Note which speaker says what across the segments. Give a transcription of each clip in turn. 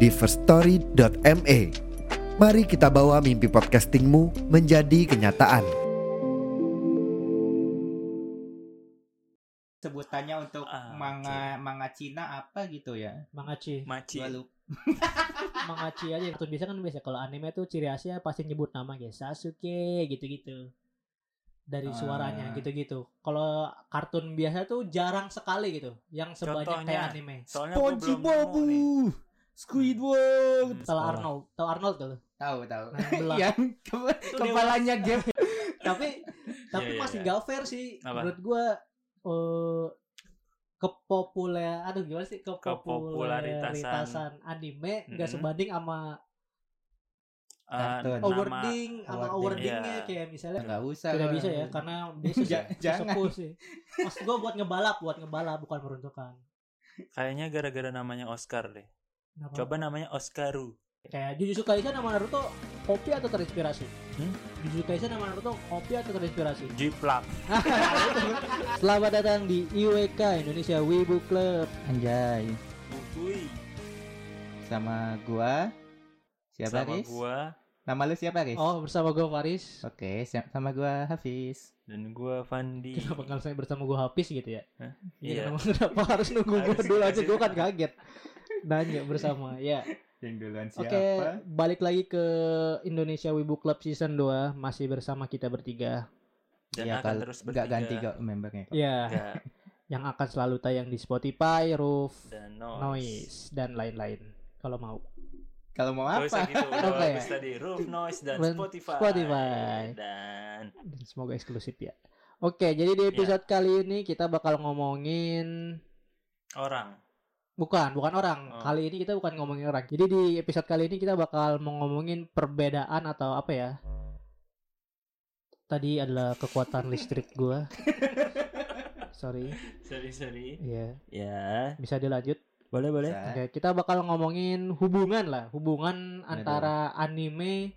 Speaker 1: di firststory.me. Mari kita bawa mimpi podcastingmu menjadi kenyataan.
Speaker 2: sebutannya untuk
Speaker 3: Ah,
Speaker 2: manga manga Cina apa gitu ya?
Speaker 4: Mangachi,
Speaker 3: Maci.
Speaker 2: Gua lupa.
Speaker 4: mangachi aja. Terus biasa kan biasa kalau anime tuh ciri khasnya pasti nyebut nama kayak Sasuke gitu-gitu.
Speaker 2: Ah.
Speaker 4: Dari suaranya gitu-gitu. Kalau kartun biasa tuh jarang sekali gitu yang sebanyak
Speaker 3: Contohnya,
Speaker 4: kayak anime.
Speaker 3: Soalnya gua belum nemu nih.
Speaker 5: Squidward.
Speaker 3: Hmm,
Speaker 4: Kalau
Speaker 3: salah.
Speaker 4: Arnold, tau Arnold tuh?
Speaker 2: Tahu tahu.
Speaker 4: Nah, belah.
Speaker 5: Yang ke-
Speaker 3: Iya, Itu
Speaker 5: kepalanya gap.
Speaker 4: tapi tapi
Speaker 3: Iya, iya,
Speaker 4: masih
Speaker 3: iya.
Speaker 4: nggak fair sih
Speaker 3: Apa?
Speaker 4: menurut gua eh kepopuler aduh gimana sih
Speaker 3: Kepopularitasan.
Speaker 4: kepopularitasan anime nggak
Speaker 3: Mm-mm.
Speaker 4: sebanding sama
Speaker 3: Eh,
Speaker 2: Kartun.
Speaker 4: Oh,
Speaker 3: nama
Speaker 4: overwording sama
Speaker 2: awarding.
Speaker 4: overwordingnya
Speaker 3: Iya.
Speaker 4: kayak misalnya
Speaker 2: Enggak usah.
Speaker 4: tidak bisa ya
Speaker 3: kan?
Speaker 4: karena dia susah,
Speaker 2: Ja- jangan.
Speaker 4: sesepuh sih maksud gua buat ngebalap buat ngebalap bukan meruntuhkan
Speaker 3: kayaknya gara-gara namanya Oscar deh.
Speaker 4: Kenapa?
Speaker 3: Coba namanya Oscaru.
Speaker 4: kayak Jujutsu Kaisen sama Naruto kopi atau terinspirasi
Speaker 3: Hmm?
Speaker 4: Jujutsu Kaisen sama Naruto kopi atau terinspirasi
Speaker 3: Jiplak.
Speaker 4: selamat datang di IWK Indonesia Wibu Club
Speaker 5: Anjay.
Speaker 3: Bukui.
Speaker 5: Sama gua. Siapa
Speaker 3: Sama
Speaker 5: Riz?
Speaker 3: gua
Speaker 5: Nama lu siapa Riz?
Speaker 4: Oh bersama gue Faris
Speaker 5: Oke, si- sama gua Hafiz.
Speaker 3: dan gua Fandi.
Speaker 4: Kenapa kalau saya bersama gue Hafiz gitu ya
Speaker 3: Iya.
Speaker 4: Kenapa, kenapa harus nunggu gue
Speaker 3: Harus
Speaker 4: dulu aja
Speaker 3: dikasih
Speaker 4: Gue kan kaget Nanya bersama ya
Speaker 5: Yang duluan siapa?
Speaker 4: Oke balik lagi ke Indonesia Wibu Club season 2 Masih bersama kita bertiga
Speaker 3: Dan
Speaker 5: Iya,
Speaker 3: akan
Speaker 5: kalau
Speaker 3: terus
Speaker 5: nggak
Speaker 3: bertiga. Iya.
Speaker 5: ganti kok membernya kok.
Speaker 4: Ya
Speaker 3: Nggak.
Speaker 4: yang akan selalu tayang di Spotify, Roof,
Speaker 3: Dan noise.
Speaker 4: Noise, dan lain-lain kalau mau.
Speaker 5: Kalau mau
Speaker 3: Gak usah
Speaker 5: apa?
Speaker 3: gitu. Udah
Speaker 4: Apa ya?
Speaker 3: habis tadi. Roof Noise dan
Speaker 4: Dan
Speaker 3: Spotify.
Speaker 4: Spotify.
Speaker 3: Dan
Speaker 4: Dan semoga eksklusif ya. Oke, jadi di episode kali ini kita bakal ngomongin
Speaker 3: orang.
Speaker 4: bukan, bukan
Speaker 3: Oh.
Speaker 4: orang. Kali ini kita bukan ngomongin orang. Jadi di episode kali ini kita bakal mau ngomongin perbedaan atau apa ya? Tadi adalah kekuatan listrik gua. Sorry,
Speaker 3: Sorry, sorry.
Speaker 4: ya
Speaker 3: Ya.
Speaker 4: bisa dilanjut.
Speaker 3: Boleh, boleh.
Speaker 5: Bisa.
Speaker 4: Oke, kita bakal ngomongin hubungan lah, hubungan antara anime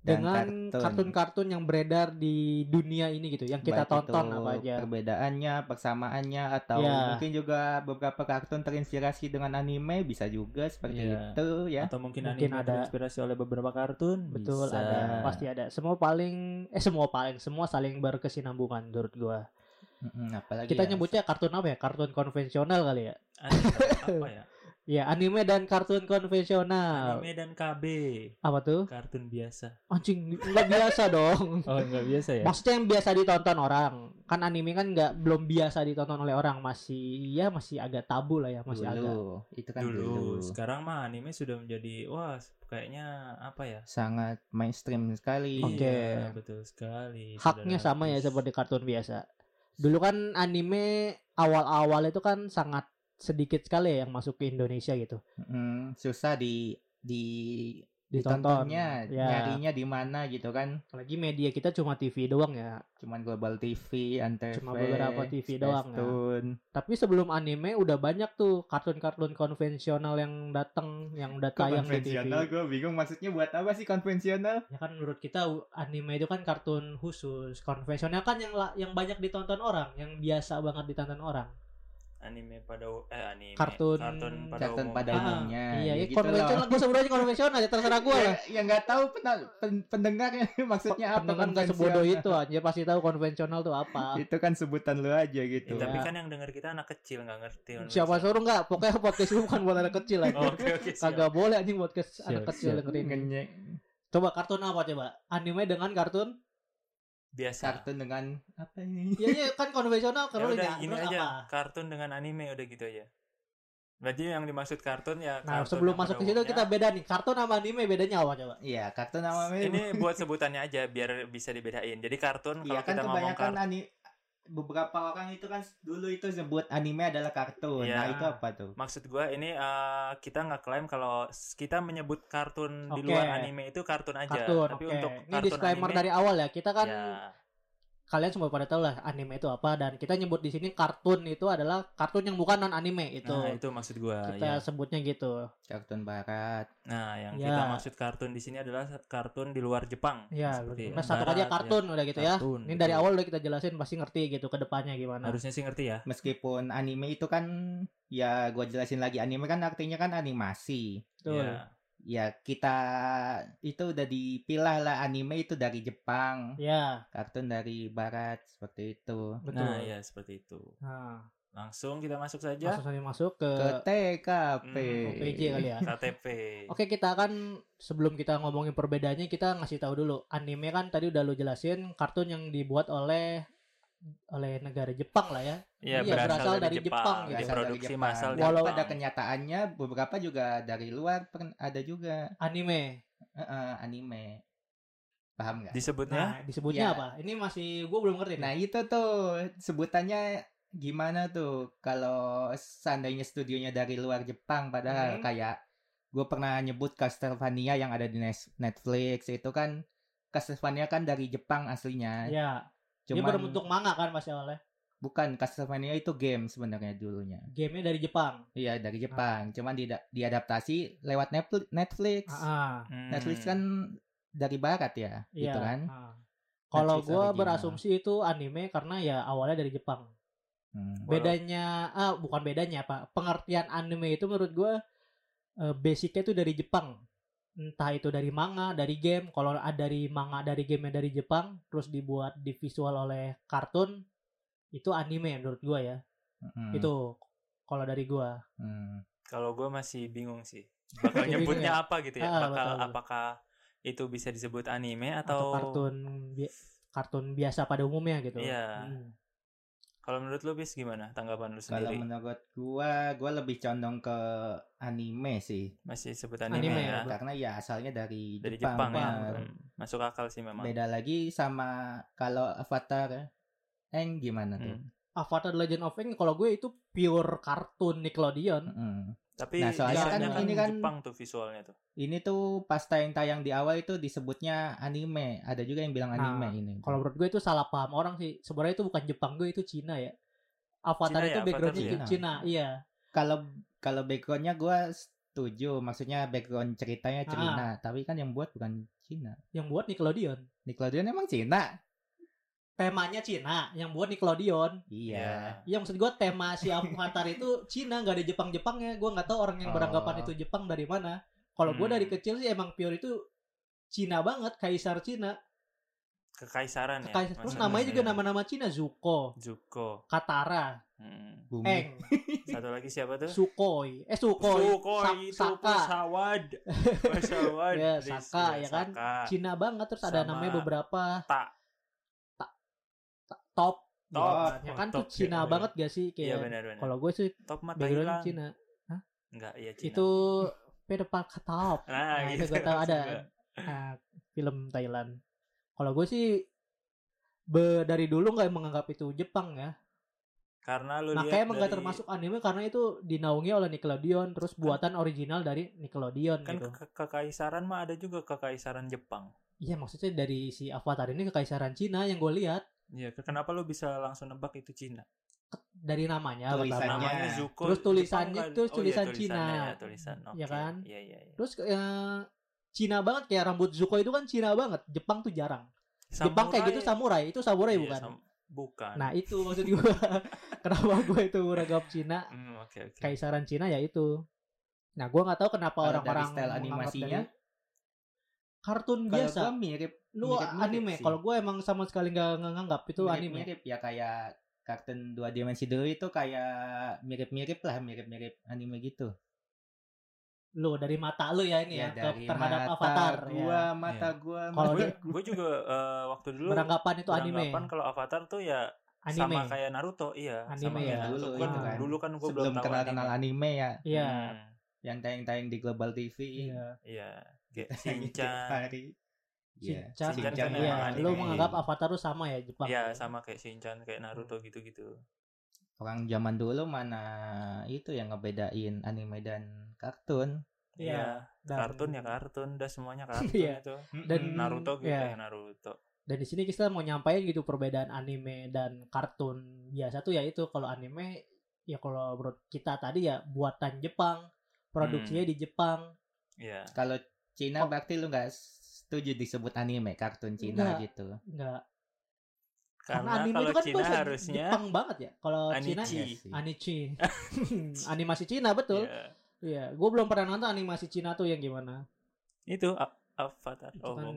Speaker 5: Dan
Speaker 4: dengan
Speaker 5: kartun.
Speaker 4: kartun-kartun yang beredar di dunia ini gitu, yang kita
Speaker 5: Baik
Speaker 4: tonton
Speaker 5: itu
Speaker 4: apa aja.
Speaker 5: Perbedaannya, persamaannya atau
Speaker 4: Iya.
Speaker 5: mungkin juga beberapa kartun terinspirasi dengan anime bisa juga seperti
Speaker 3: Iya.
Speaker 5: itu ya.
Speaker 3: Atau mungkin,
Speaker 4: Mungkin
Speaker 3: anime
Speaker 4: ada.
Speaker 3: terinspirasi oleh beberapa kartun.
Speaker 4: Betul,
Speaker 3: Bisa.
Speaker 4: ada, pasti ada. Semua paling eh semua paling semua saling berkesinambungan menurut gua.
Speaker 5: Mm-mm, apalagi
Speaker 4: Kita
Speaker 5: ya,
Speaker 4: nyebutnya kartun apa ya? Kartun konvensional kali ya?
Speaker 3: Ada apa ya?
Speaker 4: Ya, anime dan kartun konvensional.
Speaker 3: Anime dan KB.
Speaker 4: Apa tuh?
Speaker 3: Kartun biasa.
Speaker 4: Anjing, nggak biasa dong.
Speaker 3: Oh, nggak biasa
Speaker 5: Iya.
Speaker 3: ya?
Speaker 4: Maksudnya yang biasa ditonton orang. Kan anime kan nggak belum biasa ditonton oleh orang, masih ya masih agak tabu lah ya, masih agak.
Speaker 5: dulu. Itu kan
Speaker 3: dulu.
Speaker 5: dulu.
Speaker 3: Sekarang mah anime sudah menjadi wah kayaknya apa ya?
Speaker 5: Sangat mainstream sekali.
Speaker 4: Oke.
Speaker 3: Iya, betul
Speaker 5: Iya,
Speaker 3: sekali.
Speaker 4: Haknya
Speaker 3: saudara
Speaker 4: sama ya
Speaker 3: Hafiz.
Speaker 4: seperti kartun biasa. Dulu kan anime awal-awal itu kan sangat sedikit sekali ya yang masuk ke Indonesia gitu.
Speaker 5: Mm, susah di di
Speaker 4: Ditonton.
Speaker 5: ditontonnya,
Speaker 4: Ya.
Speaker 5: nyarinya di mana gitu kan?
Speaker 4: Apalagi media kita cuma TV doang ya.
Speaker 5: Cuman Global TV, Antv,
Speaker 4: Cuma beberapa TV doang ya.
Speaker 5: Spacetoon.
Speaker 4: Tapi sebelum anime udah banyak tuh kartun-kartun konvensional yang datang, yang udah
Speaker 5: Kok
Speaker 4: tayang di TV.
Speaker 5: konvensional gue bingung maksudnya buat apa sih konvensional?
Speaker 4: Ya kan menurut kita u- anime itu kan kartun khusus, konvensional kan yang la- yang banyak ditonton orang, yang biasa banget ditonton orang.
Speaker 3: anime pada eh anime
Speaker 4: Kartun-
Speaker 3: kartun pada
Speaker 5: Kartun
Speaker 3: umumnya.
Speaker 5: pada
Speaker 4: Ah,
Speaker 5: umumnya. ya
Speaker 4: iya, ya,
Speaker 5: gitu
Speaker 4: konvensional
Speaker 5: loh.
Speaker 4: gue sebut aja konvensional ya terserah gue lah.
Speaker 5: Ya, ya nggak tahu pena- pen- pendengarnya maksudnya apa
Speaker 4: Pendengar nggak
Speaker 5: konvensional.
Speaker 4: sebodoh ya. itu aja pasti tahu konvensional tuh apa.
Speaker 5: Itu kan sebutan lu aja
Speaker 3: Eh,
Speaker 5: gitu.
Speaker 4: Iya.
Speaker 3: tapi kan yang denger kita anak kecil nggak ngerti.
Speaker 4: Siapa
Speaker 3: Indonesia.
Speaker 4: suruh nggak? Pokoknya podcast lu bukan buat anak kecil aja.
Speaker 3: iya. Oh, Oke oke siap.
Speaker 4: Kagak boleh anjing podcast
Speaker 5: Siap,
Speaker 4: anak kecil
Speaker 5: siap.
Speaker 4: dengerin.
Speaker 5: Ngenyek.
Speaker 4: Coba kartun apa coba? Anime dengan kartun?
Speaker 3: Biasa.
Speaker 5: Kartun dengan apa ini?
Speaker 4: Iya iya kan
Speaker 3: Ya
Speaker 4: konvensional kalau
Speaker 3: udah
Speaker 4: ya,
Speaker 3: gini
Speaker 4: terus
Speaker 3: aja.
Speaker 4: apa?
Speaker 3: Kartun dengan anime udah gitu aja. Berarti yang dimaksud kartun ya kartun
Speaker 4: Nah, sebelum
Speaker 3: yang
Speaker 4: masuk
Speaker 3: pada
Speaker 4: ke situ
Speaker 3: umumnya.
Speaker 4: kita beda nih. Kartun sama anime bedanya apa coba?
Speaker 5: Iya, kartun namanya.
Speaker 3: ini buat sebutannya aja biar bisa dibedain. Jadi kartun
Speaker 5: Iya
Speaker 3: kalau
Speaker 5: kan
Speaker 3: kita ngomong
Speaker 5: kebanyakan
Speaker 3: kartun
Speaker 5: ani-
Speaker 2: beberapa orang itu kan dulu itu sebut anime adalah kartun.
Speaker 3: Iya.
Speaker 2: Nah, itu apa tuh?
Speaker 4: kan.
Speaker 3: Maksud gua ini eh, kita nggak klaim kalau s- kita menyebut kartun di
Speaker 4: Oke.
Speaker 3: luar anime itu kartun aja.
Speaker 4: kartun
Speaker 3: Iya, Tapi
Speaker 4: oke
Speaker 3: untuk
Speaker 4: ini
Speaker 3: kartun
Speaker 4: disclaimer
Speaker 3: anime,
Speaker 4: dari awal ya kita kan
Speaker 3: ya,
Speaker 4: kalian semua pada tahu lah anime itu apa dan kita nyebut di sini kartun itu adalah kartun yang bukan non anime itu
Speaker 3: nah, itu maksud gua.
Speaker 4: Gitu. kita
Speaker 3: ya.
Speaker 4: sebutnya gitu
Speaker 5: Kartun barat.
Speaker 3: Nah, yang
Speaker 4: Ya.
Speaker 3: kita maksud kartun di sini adalah kartun di luar Jepang.
Speaker 4: ya
Speaker 3: Seperti
Speaker 4: nah satu
Speaker 3: barat,
Speaker 4: aja kartun udah gitu ya
Speaker 3: iya. Kartun,
Speaker 4: ini
Speaker 3: gitu.
Speaker 4: dari awal udah kita jelasin pasti ngerti gitu ke depannya gimana
Speaker 3: Harusnya sih ngerti ya.
Speaker 5: Meskipun anime itu kan ya gua jelasin lagi anime kan artinya kan animasi.
Speaker 4: Betul.
Speaker 3: Ya.
Speaker 5: Ya kita itu udah dipilah lah anime itu dari Jepang,
Speaker 4: ya
Speaker 5: kartun dari barat seperti itu.
Speaker 4: betul
Speaker 3: Nah, ya seperti itu.
Speaker 4: Nah,
Speaker 3: Langsung kita masuk saja
Speaker 4: langsung saja masuk ke
Speaker 5: Ke TKP.
Speaker 3: Hmm,
Speaker 4: OPJ kali ya
Speaker 3: KTP.
Speaker 4: Oke kita kan sebelum kita ngomongin perbedaannya kita ngasih tahu dulu anime kan tadi udah lu jelasin kartun yang dibuat oleh oleh negara Jepang lah ya
Speaker 3: Iya,
Speaker 4: Iya, berasal dari Jepang gitu.
Speaker 3: Diproduksi
Speaker 5: Berasal dari
Speaker 3: massal di
Speaker 5: Jepang.
Speaker 4: Walau-
Speaker 5: Pada
Speaker 3: Jepang.
Speaker 5: kenyataannya beberapa juga dari luar pern- ada juga
Speaker 4: anime.
Speaker 5: Heeh, anime. Paham nggak?
Speaker 3: Disebutnya
Speaker 4: Nah disebutnya
Speaker 5: Ya.
Speaker 4: apa? Ini masih gue belum ngerti.
Speaker 5: Nah
Speaker 4: nih.
Speaker 5: itu tuh sebutannya gimana tuh kalau seandainya studionya dari luar Jepang padahal
Speaker 4: Hmm.
Speaker 5: kayak gue pernah nyebut Castlevania yang ada di Nes- Netflix itu kan Castlevania kan dari Jepang aslinya.
Speaker 4: ya dia
Speaker 5: Cuman
Speaker 4: berbentuk manga kan pasti awalnya.
Speaker 5: bukan Castlevania itu game sebenarnya dulunya.
Speaker 4: Gamenya dari Jepang.
Speaker 5: Iya dari
Speaker 4: Ah.
Speaker 5: Jepang, cuman di diadaptasi lewat Nepl- Netflix.
Speaker 4: Ah,
Speaker 3: Hmm.
Speaker 5: Netflix kan dari barat ya,
Speaker 4: iya.
Speaker 5: gitu kan.
Speaker 4: ah. Kalau
Speaker 5: Netflix
Speaker 4: gue
Speaker 5: original.
Speaker 4: berasumsi itu anime karena ya awalnya dari Jepang.
Speaker 5: Hmm.
Speaker 3: Walau-
Speaker 4: Bedanya ah bukan bedanya apa? Pengertian anime itu menurut gue eh, basicnya itu dari Jepang. Entah itu dari manga, dari game. Kalau ada dari manga, dari game dari Jepang, terus dibuat di visual oleh kartun, itu anime menurut gue ya.
Speaker 5: Hmm.
Speaker 4: Itu kalau dari gue.
Speaker 5: Hmm.
Speaker 3: Kalau gue masih bingung sih. Bakal
Speaker 4: Masih bingung
Speaker 3: nyebutnya apa gitu ya?
Speaker 4: Ah,
Speaker 3: Bakal
Speaker 4: betul.
Speaker 3: apakah itu bisa disebut anime atau,
Speaker 4: atau kartun bi- kartun biasa pada umumnya gitu.
Speaker 3: Iya.
Speaker 4: Hmm.
Speaker 3: Kalau menurut lu bis gimana tanggapan lu
Speaker 5: Kalau
Speaker 3: sendiri?
Speaker 5: menurut gua, gua lebih condong ke anime sih.
Speaker 3: Masih sebut anime,
Speaker 4: Anime
Speaker 3: ya?
Speaker 4: ya,
Speaker 5: karena ya asalnya dari,
Speaker 3: Dari
Speaker 5: Jepang,
Speaker 3: Jepang, ya.
Speaker 5: benar.
Speaker 3: Hmm, Masuk akal sih memang. Hmm.
Speaker 5: Beda lagi sama kalau Avatar Eng gimana tuh?
Speaker 4: Avatar The Legend of Aang kalau gue itu pure kartun
Speaker 3: Hmm.
Speaker 4: Nickelodeon.
Speaker 5: Mm-mm.
Speaker 3: Tapi
Speaker 5: Nah, soalnya
Speaker 4: kan
Speaker 3: biasanya
Speaker 5: ini kan-
Speaker 3: Jepang tuh visualnya tuh.
Speaker 5: Ini tuh pas tayang-tayang di awal itu disebutnya anime. Ada juga yang bilang anime
Speaker 4: Nah,
Speaker 5: ini.
Speaker 4: Kalau menurut gue itu salah paham orang sih. Sebenarnya itu bukan Jepang gue itu Cina ya.
Speaker 3: Cina
Speaker 4: Avatar
Speaker 3: ya,
Speaker 4: itu
Speaker 3: Avatar
Speaker 4: backgroundnya
Speaker 5: Cina.
Speaker 4: Cina. Cina, iya.
Speaker 5: kalau kalau backgroundnya gua setuju. Maksudnya background
Speaker 4: Ah.
Speaker 5: ceritanya Cina, tapi kan yang buat bukan Cina.
Speaker 4: Yang buat Nickelodeon.
Speaker 5: Nickelodeon emang Cina?
Speaker 4: Temanya Cina, yang buat Nickelodeon.
Speaker 5: Iya.
Speaker 4: Iya maksud gue tema si Avatar itu Cina, nggak ada Jepang-Jepangnya. Gue nggak tahu orang yang
Speaker 5: Oh.
Speaker 4: beranggapan itu Jepang dari mana. Kalau gue
Speaker 3: Hmm.
Speaker 4: dari kecil sih emang pure itu Cina banget, kaisar Cina.
Speaker 3: Kekaisaran ya.
Speaker 4: Kaisar, terus
Speaker 3: maksudnya.
Speaker 4: namanya juga nama-nama Cina, Zuko.
Speaker 3: Zuko.
Speaker 4: Katara,
Speaker 3: Hmm.
Speaker 5: Bumi.
Speaker 4: Eng,
Speaker 3: Satu lagi siapa tuh?
Speaker 4: Sukoi, eh Sukoi, Sa-
Speaker 3: itu
Speaker 4: Saka,
Speaker 3: pesawat. Pesawat.
Speaker 4: Ya,
Speaker 3: Riz.
Speaker 4: Saka, ya kan?
Speaker 3: Saka.
Speaker 4: Cina banget terus ada
Speaker 3: Sama
Speaker 4: namanya beberapa
Speaker 3: Tak.
Speaker 4: Ta- Ta- top,
Speaker 3: Top.
Speaker 4: ya kan
Speaker 3: Top,
Speaker 4: tuh Cina
Speaker 3: iya,
Speaker 4: banget gak sih
Speaker 3: Iya
Speaker 4: kayak
Speaker 3: benar benar.
Speaker 4: kalau gue sih
Speaker 3: top mata hilang.
Speaker 4: background Cina.
Speaker 3: Enggak, iya Cina.
Speaker 4: itu pedepal ketop
Speaker 3: Nah,
Speaker 4: nah, itu
Speaker 3: gitu.
Speaker 4: gue tahu ada
Speaker 3: Juga.
Speaker 4: nah, film Thailand kalau gue sih be- dari dulu nggak menganggap itu Jepang ya
Speaker 3: Karena lu lihat
Speaker 4: makanya Nah, emang nggak
Speaker 3: dari-
Speaker 4: termasuk anime karena itu dinaungi oleh Nickelodeon terus buatan original dari Nickelodeon
Speaker 3: kan
Speaker 4: gitu
Speaker 3: ke- kekaisaran mah ada juga kekaisaran Jepang.
Speaker 4: Iya maksudnya dari si Avatar ini kekaisaran Cina yang gue lihat
Speaker 3: Iya, ke- kenapa lu bisa langsung nebak itu Cina?
Speaker 4: dari namanya
Speaker 5: Tulisannya.
Speaker 4: pertama.
Speaker 3: Namanya Zuko.
Speaker 4: Terus tulisannya
Speaker 3: Jepang kan? Oh,
Speaker 4: tuh
Speaker 3: iya,
Speaker 4: tulisan
Speaker 3: tulisannya,
Speaker 4: Cina.
Speaker 3: Ya, tulisan. Oke.
Speaker 4: Iya kan?
Speaker 3: Iya, iya, iya.
Speaker 4: Terus ya, Cina banget kayak rambut Zuko itu kan Cina banget. Jepang tuh jarang. Jepang kayak gitu samurai, itu samurai
Speaker 3: Iya,
Speaker 4: bukan?
Speaker 3: sam- bukan.
Speaker 4: Nah itu maksud gue. kenapa gue itu ragam Cina,
Speaker 3: Hmm, oke oke.
Speaker 4: kaisaran Cina ya itu. Nah gue nggak tahu kenapa
Speaker 5: Kalau
Speaker 4: orang-orang
Speaker 5: dari style
Speaker 4: menganggap
Speaker 5: animasinya?
Speaker 4: dari- kartun
Speaker 5: Kalau
Speaker 4: biasa.
Speaker 5: gua mirip
Speaker 4: Lu
Speaker 5: mirip-mirip
Speaker 4: anime.
Speaker 5: sih.
Speaker 4: Kalau gue emang sama sekali nggak nggak nganggap itu anime.
Speaker 5: mirip-mirip ya kayak kartun dua dimensi dulu itu kayak mirip-mirip lah mirip-mirip anime gitu
Speaker 4: Lu dari mata lu ya ini ya, ke- terhadap Avatar.
Speaker 5: Iya,
Speaker 4: ya.
Speaker 5: gua mata gua
Speaker 4: Kalau
Speaker 5: mata
Speaker 4: dia
Speaker 5: gua.
Speaker 3: Gue juga eh, waktu dulu
Speaker 4: Iya. beranggapan itu anime.
Speaker 3: beranggapan kalau Avatar tuh ya
Speaker 4: Anime.
Speaker 3: sama kayak Naruto, iya.
Speaker 4: Anime
Speaker 3: sama
Speaker 4: ya.
Speaker 3: kayak Naruto.
Speaker 5: Dulu
Speaker 3: Gua
Speaker 4: itu kan.
Speaker 3: dulu kan gue belum
Speaker 5: sebelum
Speaker 3: tahu
Speaker 5: kenal kenal
Speaker 3: anime.
Speaker 5: anime ya
Speaker 4: Iya.
Speaker 3: Hmm,
Speaker 5: yang tayang-tayang di Global TV
Speaker 4: Iya.
Speaker 3: Iya. Kayak
Speaker 5: Tayang tiap
Speaker 3: Shinchan.
Speaker 5: hari. Iya.
Speaker 4: Shinchan.
Speaker 5: Shinchan
Speaker 3: Shinchan
Speaker 5: kan
Speaker 3: memang
Speaker 4: Iya,
Speaker 5: anime.
Speaker 4: lu menganggap Avatar lu sama ya Jepang?
Speaker 3: Iya sama kayak Shinchan kayak Naruto gitu-gitu.
Speaker 5: orang zaman dulu mana itu yang ngebedain anime dan kartun.
Speaker 4: Iya. Dan-
Speaker 3: kartun ya kartun, udah semuanya kartun
Speaker 4: Iya.
Speaker 3: itu.
Speaker 4: Dan-
Speaker 3: Naruto gitu
Speaker 4: Iya.
Speaker 3: ya Naruto.
Speaker 4: Dan di sini kita mau nyampain gitu perbedaan anime dan kartun biasa tuh ya itu kalau anime ya kalau menurut kita tadi ya buatan Jepang,
Speaker 3: Hmm.
Speaker 4: produksinya di Jepang.
Speaker 3: Iya.
Speaker 5: Kalau Cina
Speaker 4: Oh.
Speaker 5: berarti lu nggak setuju disebut anime kartun Cina
Speaker 4: Nggak.
Speaker 5: gitu.
Speaker 4: Enggak. Karena,
Speaker 3: Karena
Speaker 4: anime
Speaker 3: kalau
Speaker 4: itu kan
Speaker 3: Cina
Speaker 4: bahasa
Speaker 3: harusnya
Speaker 4: Jepang banget ya. Kalau Cina
Speaker 3: Anichi.
Speaker 5: Iya sih.
Speaker 4: Anichi. animasi Cina betul.
Speaker 3: Iya.
Speaker 4: Iya, gue belum pernah nonton animasi Cina tuh yang gimana.
Speaker 3: Itu a- Avatar.
Speaker 4: Itu
Speaker 3: Oh,
Speaker 4: kan
Speaker 3: bukan.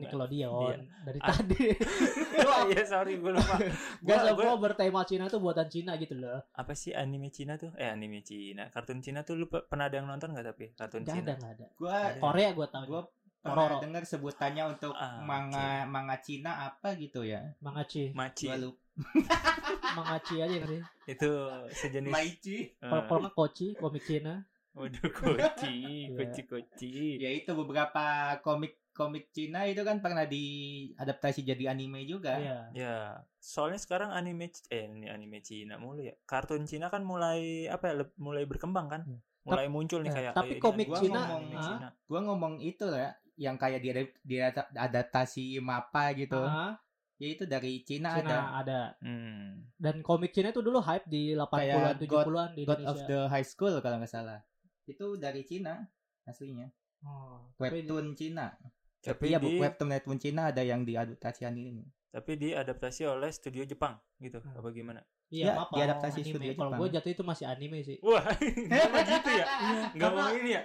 Speaker 3: Iya.
Speaker 4: Nickelodeon dari
Speaker 3: A-
Speaker 4: tadi.
Speaker 3: Oh, iya, sorry gue lupa.
Speaker 4: Gak
Speaker 3: Gua- gua-
Speaker 4: semua bertema Cina tuh buatan Cina gitu loh.
Speaker 3: apa sih anime Cina tuh? Eh anime Cina, kartun Cina tuh lu pe- pernah ada yang nonton nggak tapi kartun
Speaker 4: Gak
Speaker 3: Cina?
Speaker 4: ada, gak ada.
Speaker 5: Gua eh,
Speaker 3: Ada.
Speaker 4: Korea gue tau. ya.
Speaker 5: gua
Speaker 4: Pororo.
Speaker 5: pernah dengar sebutannya untuk
Speaker 3: Ah,
Speaker 5: manga manga Cina apa gitu ya.
Speaker 4: Mangachi.
Speaker 3: Maci
Speaker 5: Gua lupa.
Speaker 4: Mangachi aja nggak sih.
Speaker 3: itu sejenis.
Speaker 5: Maichi.
Speaker 3: eh,
Speaker 4: Kalau kalau nggak koci, komik Cina.
Speaker 3: waduh koci,
Speaker 4: Iya.
Speaker 3: koci koci.
Speaker 5: Ya itu beberapa komik komik Cina itu kan pernah diadaptasi jadi anime juga.
Speaker 4: Iya.
Speaker 3: Ya, soalnya sekarang anime C- eh ini anime Cina mulu ya. Kartun Cina kan mulai apa ya? leb- Mulai berkembang kan?
Speaker 4: Hmm.
Speaker 3: Mulai muncul nih
Speaker 4: eh,
Speaker 3: kayak
Speaker 4: tapi
Speaker 3: kayak
Speaker 4: komik
Speaker 3: gua
Speaker 5: Cina,
Speaker 3: ngomong anime
Speaker 4: ah?
Speaker 3: Cina.
Speaker 5: Gua ngomong itu lah yang kayak diadap- diadaptasi mapa gitu.
Speaker 4: Ah,
Speaker 5: Ya itu dari Cina,
Speaker 4: Cina ah.
Speaker 5: ada
Speaker 4: ada.
Speaker 3: Hmm.
Speaker 4: Dan komik Cina itu dulu hype di 80-an,
Speaker 5: Kayak
Speaker 4: 70-an di
Speaker 5: God
Speaker 4: Indonesia.
Speaker 5: of the High School kalau nggak salah. Itu dari Cina aslinya.
Speaker 4: Oh, tapi di-
Speaker 5: Webtoon Cina.
Speaker 3: Tapi
Speaker 5: iya,
Speaker 3: di
Speaker 5: Bu, webtoon webtoon Cina ada yang diadaptasi anime.
Speaker 3: tapi diadaptasi oleh studio Jepang gitu.
Speaker 4: Hmm.
Speaker 3: Apa gimana?
Speaker 5: Ya,
Speaker 4: Iya, apa?
Speaker 5: diadaptasi
Speaker 4: anime.
Speaker 5: studio
Speaker 4: Kalau
Speaker 5: Jepang.
Speaker 4: gue jatuh itu masih anime sih. Iya.
Speaker 3: Wah, emang gitu ya? Nggak mau ini ya?